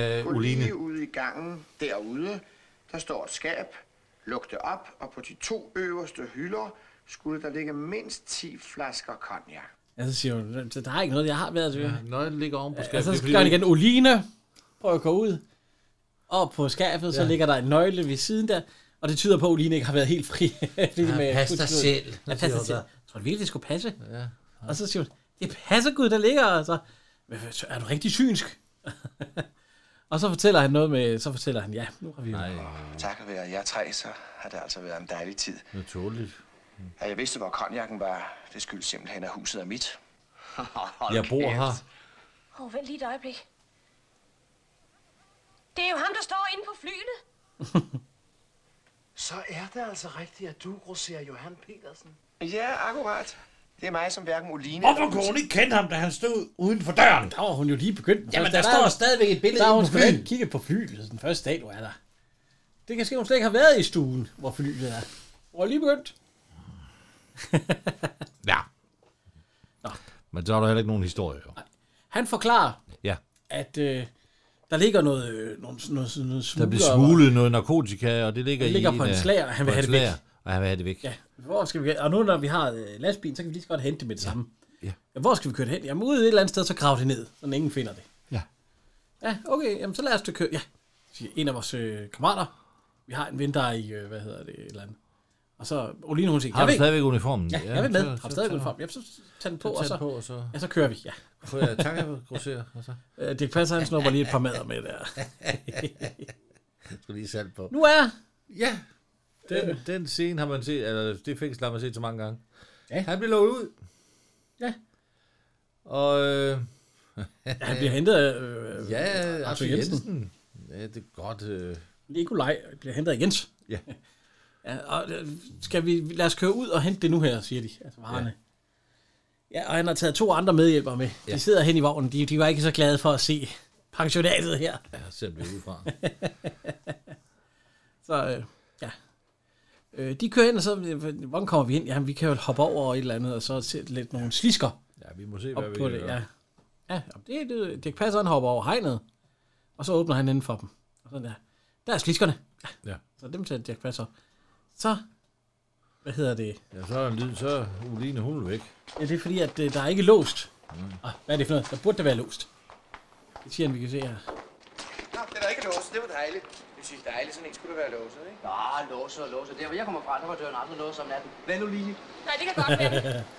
S2: det, øh, Uline.
S12: Lige ude i gangen derude, der står et skab. Luk det op, og på de to øverste hylder skulle der ligge mindst 10 flasker konjak.
S1: Ja, så siger hun, så der er ikke noget, jeg har været til. Ja,
S2: nøglen ligger oven på
S1: Og
S2: skabet.
S1: Altså, så
S2: Det er
S1: gør han
S2: fordi,
S1: igen, Oline, prøv at gå ud. Og på skabet, så
S2: Ja.
S1: ligger der en nøgle ved siden der. Og det tyder på, at Oline ikke har været helt fri. [LAUGHS] lige
S2: Ja, pas dig
S1: kunstnød.
S2: selv,
S1: Ja,
S2: siger
S1: pas dig
S2: hun
S1: selv.
S2: så.
S1: Tror du virkelig, det skulle passe? Ja. Og så siger hun, det passer Gud, der ligger. Og så, "Men hvad, så er du rigtig synsk? [LAUGHS] og så fortæller han noget med, så fortæller han, ja, nu har vi Nej.
S8: Tak at være jer tre, så har det altså været en dejlig tid.
S2: Naturligt.
S8: At jeg vidste, hvor konjakken var, det skyldes simpelthen, at huset er mit.
S2: Jeg bor her.
S16: Åh, oh, vent lige et øjeblik. Det er jo ham, der står inde på flyene.
S27: Så er det altså rigtigt, at du grosserer Johan Petersen.
S8: Ja, akkurat. Det er mig, som hverken Oline...
S27: Hvorfor kunne hun ikke
S2: kendte ham, da han stod uden for døren?
S1: Der var hun jo lige begyndt.
S27: Jamen, der står stadigvæk et billede
S1: Der har
S27: inde
S1: hun
S27: på
S1: stadig
S27: flyet.
S1: kigget på flyet, den første dag, du er der. Det kan ske, hun slet ikke har været i stuen, hvor forlyset er. Hvor er lige begyndt.
S2: Ja. Men så er der heller ikke nogen historie, jo.
S1: Han forklarer,
S2: Ja.
S1: at øh, der ligger noget, øh, nogle, noget, noget smugler.
S2: Der blev smuglet noget narkotika, og det ligger,
S1: Det ligger
S2: i en
S1: på en
S2: af-
S1: slager, og han vil
S2: på en
S1: have det væk.
S2: slager, Og han vil have det væk.
S1: Ja, hvor skal vi Og nu når vi har øh, lastbilen, så kan vi lige så godt hente det med det samme.
S2: Ja.
S1: ja. Hvor skal vi køre det hen? Jamen ude et eller andet sted, så grav det ned, så ingen finder det.
S2: Ja.
S1: Ja, okay, jamen så lad os da køre. Ja, siger en af vores øh, kammerater. Vi har en ven, der er i, øh, hvad hedder det, et eller andet. Og så, Oline hun siger,
S2: Har
S1: jeg
S2: du
S1: vil-
S2: stadigvæk uniformen?
S1: Ja,
S2: Ja,
S1: jeg vil med.
S2: så-
S1: Har
S2: så
S1: du stadigvæk
S2: tager-
S1: uniformen? Jamen så tag den på,
S2: Så
S1: og
S2: tag
S1: så,
S2: den på, og så-
S1: ja, så kører vi. Ja.
S2: Får jeg tankegrosser, og så-
S1: Øh, Det passer, han snupper lige et par mader med der.
S2: Jeg skulle lige salt på.
S1: nu er
S2: Ja. Den, den scene har man set, eller det fængsel har man set så mange gange. Ja. Han bliver lukket ud.
S1: Ja.
S2: Og... Øh,
S1: Ja, han bliver hentet af, øh,
S2: ja,
S1: Arthur
S2: Arthur
S1: Jensen.
S2: Jensen. Jensen. Ja, det er godt... Øh.
S1: Nikolaj bliver hentet af Jens.
S2: Ja.
S1: [LAUGHS] ja og øh, skal vi, lad os køre ud og hente det nu her, siger de. Altså varerne. Ja. ja, og han har taget to andre medhjælpere med. Ja.
S2: Ja.
S1: De sidder hen i vognen. De, de var ikke så glade for at se pensionatet her.
S2: Ja, ser vi
S1: [LAUGHS]
S2: udefra.
S1: Så øh, ja. Øh, de kører ind, og så, øh, hvordan kommer vi ind? Jamen, vi kan jo hoppe over et eller andet, og så se lidt nogle slisker.
S2: Ja, vi må se,
S1: op
S2: hvad vi
S1: på
S2: kan
S1: det,
S2: gøre.
S1: ja. Ja, jamen, det, det, det passer, han hopper over hegnet, og så åbner han inden for dem. Og sådan der. Der er sliskerne.
S2: Ja.
S1: [LAUGHS] Så dem tager Dirk Passer. Så, hvad hedder det?
S2: Ja, så er en lyd, så er Uline, hun er væk.
S1: Ja, det er fordi, at øh, der er ikke låst.
S2: Mm.
S1: Ah, hvad er det for noget? Der burde der være låst. Det siger han, vi kan se her.
S7: Nå, det er da ikke låst. Det var dejligt. Det synes dejligt, sådan en skulle der være låst, ikke?
S15: Nå, låse og låse. Der, hvor jeg kommer fra, der var døren aldrig låst om natten.
S7: Hvad nu lige?
S16: Nej, det kan
S2: [LAUGHS]
S16: godt være.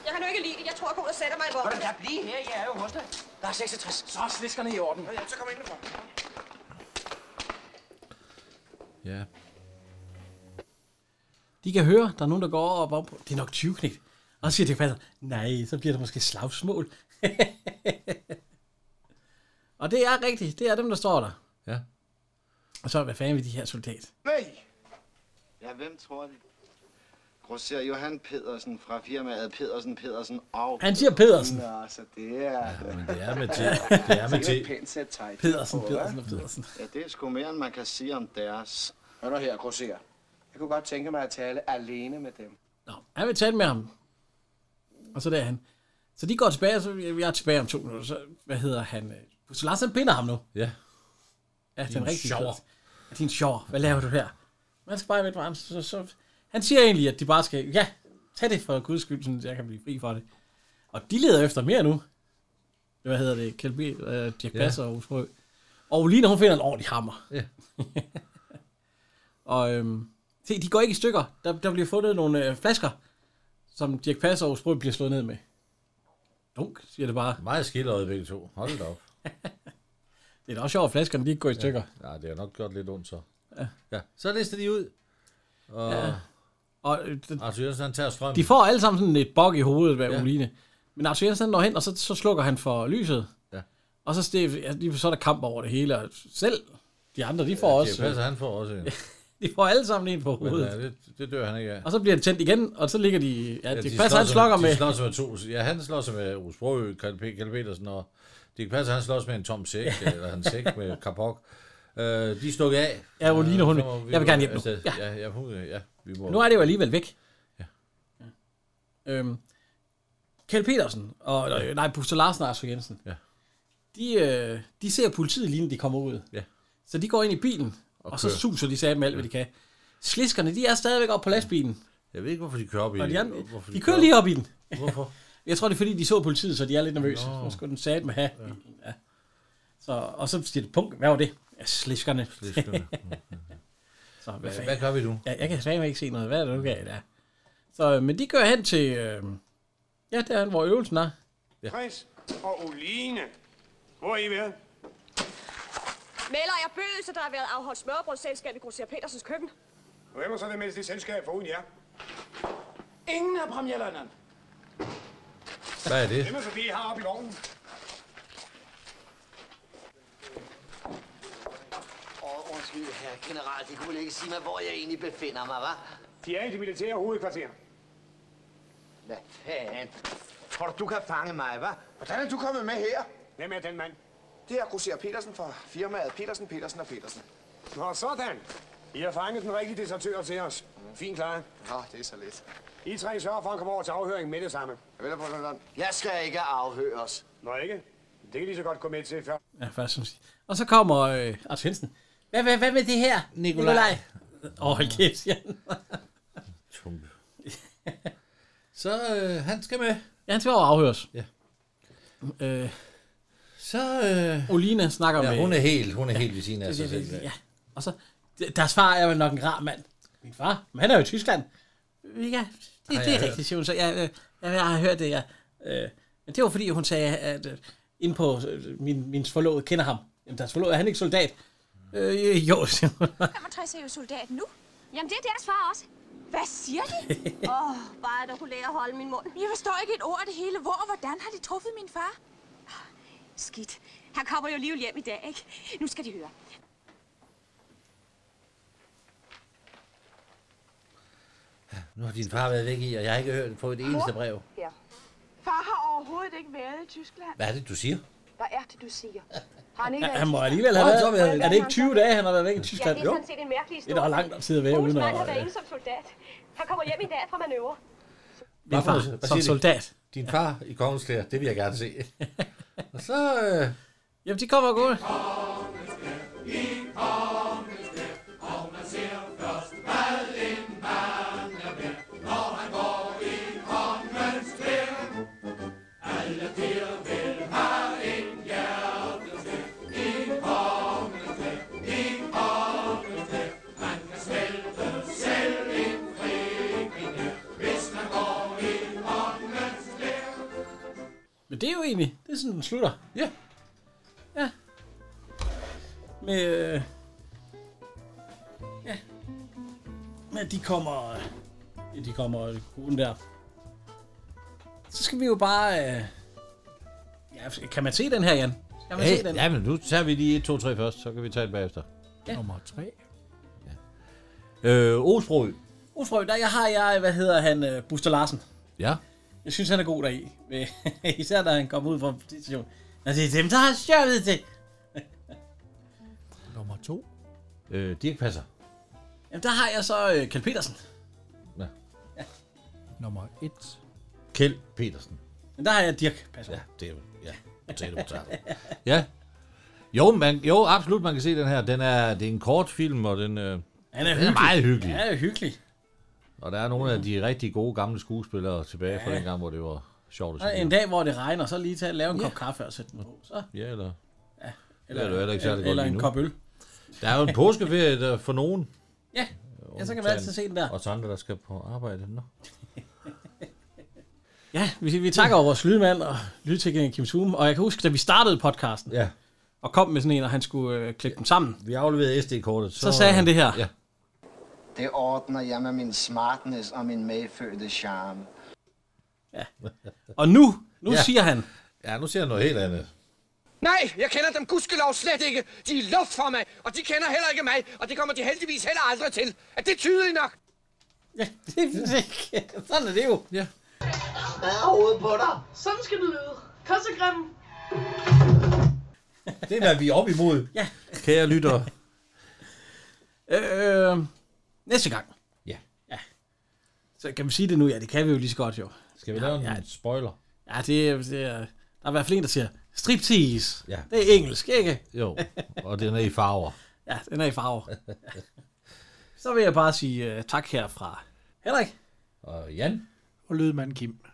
S16: Jeg kan nu ikke lide det. Jeg tror, jeg går ud og sætter mig i
S15: Hold
S16: vognen.
S15: da, bliv her. Jeg er jo hos dig. Der er 66. Så er sliskerne i orden.
S7: Ja, så kom ind for.
S2: Ja.
S1: De kan høre, der er nogen, der går op og op. Det er nok 20 knægt. Og så siger Dirk Passer, nej, så bliver der måske slagsmål. [LAUGHS] og det er rigtigt. Det er dem, der står der.
S2: Ja.
S1: Og så, hvad fanden vil de her soldat?
S7: Nej!
S12: Ja, hvem tror det? Grosser Johan Pedersen fra firmaet Pedersen Pedersen og...
S1: Han siger Pedersen.
S12: Nå, så det er... Ja,
S2: men det er med T. Det er med T.
S12: Det er
S1: [LAUGHS]
S12: et pænt sæt tegn.
S1: Pedersen,
S12: Åh,
S1: Pedersen
S12: hva'?
S1: og Pedersen.
S12: Ja, det er sgu mere, end man kan sige om deres.
S7: Hør nu her, grosser. Jeg kunne godt tænke mig at tale alene med dem.
S1: Han vil tale med ham. Og så der er han. Så de går tilbage, og så jeg er tilbage om to minutter. Så, hvad hedder han? øh, Så Lars, han binder ham nu.
S2: Ja.
S1: Ja, det er
S2: Din
S1: en rigtig
S2: sjover.
S1: Ja, Din sjover. Hvad laver du her? Man skal bare vente med ham. Så, så, han siger egentlig, at de bare skal, ja, tag det for guds skyld, så jeg kan blive fri for det. Og de leder efter mere nu. Hvad hedder det? Kjeld B, øh, Dirk
S2: Ja.
S1: Passer og Aarhus Brø. Og Lina, hun finder en ordentlig hammer.
S2: Ja.
S1: [LAUGHS] og øhm, se, de går ikke i stykker. Der, der bliver fundet nogle øh, flasker, som Dirk Passer og Aarhus Brø bliver slået ned med. Dunk, siger det bare.
S2: Meget skildret begge to. Hold da op.
S1: Det er da også sjovt, at flaskerne de ikke går i stykker.
S2: Ja, det er nok gjort lidt ondt så.
S1: Ja.
S2: ja. Så lister de ud. Og,
S1: Ja.
S2: ja.
S1: Og, øh, det-
S2: Arthur Jensen, han tager strømmen.
S1: De får alle sammen sådan et bog i hovedet, hvad ja.
S2: Ja.
S1: Uline. Men Arthur Jensen han når hen, og så, så slukker han for lyset.
S2: Ja.
S1: Og så, stef, ja, lige- så er der kamp over det hele, og selv de andre, de får
S2: Ja,
S1: også...
S2: Dirk Passer, han får også en.
S1: de får alle sammen en på
S2: Men,
S1: hovedet.
S2: ja, det, det dør han ikke af.
S1: Og så bliver det tændt igen, og så ligger de... Ja, ja
S2: de
S1: det passer, han
S2: slås
S1: slukker
S2: De
S1: med...
S2: slås med to. Ja, han slås med Rus Brøø, Kalle P- Kalle Petersen, og Dirk Passer, han slås med en tom sæk, eller en sæk med kapok. Øh, de er stukket af.
S1: Ja, hvor ligner hun-
S2: så må vi
S1: Jeg vil
S2: gå
S1: gerne hjem nu.
S2: afsted.
S1: Ja.
S2: Ja, ja, hun, ja, vi må.
S1: Nu er det jo alligevel væk. Ja. Øhm, Kjeld Petersen og... Nej, nej Buster Larsen og Arthur Jensen.
S2: Ja.
S1: De, øh, de ser politiet lige, når de kommer ud.
S2: Ja.
S1: Så de går ind i bilen, og, og så
S2: kører.
S1: suser de sammen alt, hvad de kan. Sliskerne, de er stadigvæk oppe på lastbilen.
S2: Jeg ved ikke, hvorfor de kører op i
S1: Og de, andre,
S2: hvorfor
S1: de kører lige op i den.
S2: Hvorfor?
S1: Jeg tror, det er fordi, de så politiet, så de er lidt nervøse.
S2: Nå.
S1: Nu skulle den sat med have. Ja. Ja. Så, og så siger det punkt. Hvad var det? Ja, sliskerne.
S2: Sliskerne.
S1: så, hvad,
S2: Hvad-
S1: fanden?
S2: hvad gør vi nu?
S1: Ja, jeg kan slet ikke se noget. Hvad er det, du gav der? Så, øh, men de kører hen til... Øh, ja, der er hvor øvelsen er.
S11: Ja. Chris og Oline. Hvor er I ved?
S16: Melder jeg bøde, der har været afholdt smørbrødsselskab i Grosser Petersens køkken.
S11: Hvem er så det mindste selskab for uden jer?
S27: Ingen af premierlønnerne.
S2: Hvad er det?
S11: Hvem er forbi heroppe i vognen?
S10: Åh, undskyld, herre general. Det kunne vel ikke sige mig, hvor jeg egentlig befinder mig, hva'?
S11: De er i det militære hovedkvarter.
S10: Hvad fanden? Tror du, du kan fange mig, hva'?
S8: Hvordan er du kommet med her?
S11: Hvem er den mand?
S8: Det er grosser Petersen fra firmaet Petersen, Petersen og Petersen.
S11: Nå, sådan. I har fanget den rigtige desertør til os. Fint klar.
S7: Nå, det er så lidt.
S11: I tre sørger for, at han kommer over til afhøring med det samme.
S7: Jeg venter på sådan.
S11: Jeg skal ikke afhøres. Nå ikke? Det kan lige så godt gå med til før.
S1: Ja, først som sig- Og så kommer øh, Ars Hensen. Hvad, hvad, hvad med det her,
S11: Nikolaj?
S1: Åh, oh, hold kæft, ja.
S2: Så øh, han skal med.
S1: Ja, han skal over og afhøres.
S2: Ja.
S1: Øh,
S2: så... Øh,
S1: Olina snakker
S2: Ja,
S1: med...
S2: hun er helt- hun er helt ved siden af
S1: Ja,
S2: sig
S1: Altså, det- det-
S2: selv, ja.
S1: Ja, og så... det- Deres far er vel nok en rar mand. Min far? Men han er jo i Tyskland. Ja, det,
S2: Har
S1: det
S2: jeg
S1: er rigtigt, siger hun så. Jeg, jeg, jeg har hørt det, ja. Øh, men det var fordi, hun sagde, at øh, inde på øh, min, min forlovede kender ham. Jamen, deres forlovede, er han ikke soldat? Øh, jo, siger [LAUGHS] hun.
S13: 65 er jo soldat nu. Jamen, det er deres far også. Hvad siger de? [LAUGHS] Åh, oh, bare at der kunne lære at holde min mund. Jeg forstår ikke et ord af det hele. Hvor og hvordan har de truffet min far? Skidt. Han kommer jo alligevel hjem i dag, ikke? Nu skal de høre.
S2: Nu har din far været væk i, og jeg har ikke hørt på et eneste brev.
S17: Her. Far har overhovedet ikke været i Tyskland.
S2: Hvad er det, du siger?
S17: Hvad er det, du siger? Har han ikke
S1: Ja,
S17: været i
S1: han må
S17: Tyskland?
S1: alligevel have
S2: Åh, så
S1: været...
S2: vil jeg-
S1: Er det ikke 20 dage, han har været væk i
S16: Ja,
S1: Tyskland?
S16: det er sådan set en mærkelig
S1: Det er da lang tid at være
S16: Bruns
S1: uden at-
S16: mand har været inde som soldat. Han kommer hjem i dag fra manøvre.
S1: Min far,
S2: Hvad
S1: som
S2: siger de?
S1: soldat.
S2: Din far i kongens klæder, det vil jeg gerne
S1: [LAUGHS]
S2: se.
S1: Og så... Øh... Jamen, de kommer og går. Men det er jo egentlig, det er sådan, den slutter. Ja. Ja. Med, øh, ja. Men de kommer, øh, ja, de kommer øh, gruppen der. Så skal vi jo bare, øh, ja, kan man se den her, Jan? Kan man
S2: Hey,
S1: se den?
S2: ja, men nu tager vi lige 1, 2, 3 først, så kan vi tage det bagefter.
S1: Ja.
S14: Nummer 3.
S2: Øh, Osbro.
S1: Ufrø, der jeg har jeg, hvad hedder han, øh, Buster Larsen.
S2: Ja.
S1: Jeg synes, han er god deri. Med- [LAUGHS] Især da han kom ud fra stationen. Når det er dem, der har stjålet det.
S14: Nummer 2.
S2: Øh, Dirk Passer.
S1: Jamen, der har jeg så øh, Kjeld Petersen.
S14: Nummer 1.
S2: Kjeld Petersen.
S1: Men der har jeg Dirk Passer.
S2: Ja, det er jo, ja, potato, potato. [LAUGHS] ja. Jo, man, jo, absolut, man kan se den her. Den er, det er en kort film, og den, øh, den
S1: Han er,
S2: den er meget hyggelig.
S1: Ja, er hyggelig.
S2: Og der er nogle
S1: Mhm.
S2: af de rigtig gode gamle skuespillere tilbage ja. fra den gang, hvor det var sjovt at
S1: Og
S2: se.
S1: en dag, hvor det regner, så lige tage, lave en kop kaffe og sætte den på. Så.
S2: Ja, eller...
S1: Ja,
S2: Eller, det er jo heller ikke særlig
S1: eller
S2: godt lige
S1: en
S2: nu.
S1: kop øl.
S2: Der er jo en påskeferie der for nogen.
S1: Ja, ja så kan man
S2: Undtagen
S1: altid se den der.
S2: Og så andre, der skal på arbejde. Nå.
S1: Ja, vi, vi takker over vores lydmand og lydtekniker Kim Zoom. Og jeg kan huske, da vi startede podcasten,
S2: ja.
S1: og kom med sådan en, og han skulle øh, klippe dem sammen.
S2: Vi afleverede SD-kortet.
S1: Så, så sagde han det her.
S2: Ja.
S4: Det ordner jeg med min smartness og min medfødte charme.
S1: Og nu, nu
S2: Ja.
S1: ja. siger han.
S2: Ja, nu siger han noget helt andet.
S5: Nej, jeg kender dem gudskelov slet ikke. De er luft for mig, og de kender heller ikke mig, og det kommer de heldigvis heller aldrig til. Er det tydeligt nok?
S1: Ja, sådan er det jo.
S2: Ja.
S5: Hvad er hovedet på dig?
S13: Sådan skal det lyde. Kossegrim.
S2: Det er, hvad vi er op imod.
S1: [LAUGHS] Ja.
S2: Kære lytter.
S1: Øh, næste gang.
S2: Ja.
S1: ja. Så kan vi sige det nu? Ja, det kan vi jo lige så godt jo.
S2: Skal vi lave en spoiler?
S1: Ja, det, er- det er... Der er i hvert fald en, der siger, striptease.
S2: Ja.
S1: Det er engelsk, ikke?
S2: Jo, og den er i farver.
S1: Ja, den er i farver. Så vil jeg bare sige uh, tak her øh, fra Henrik.
S2: Og Jan.
S14: Og lydmand Kim.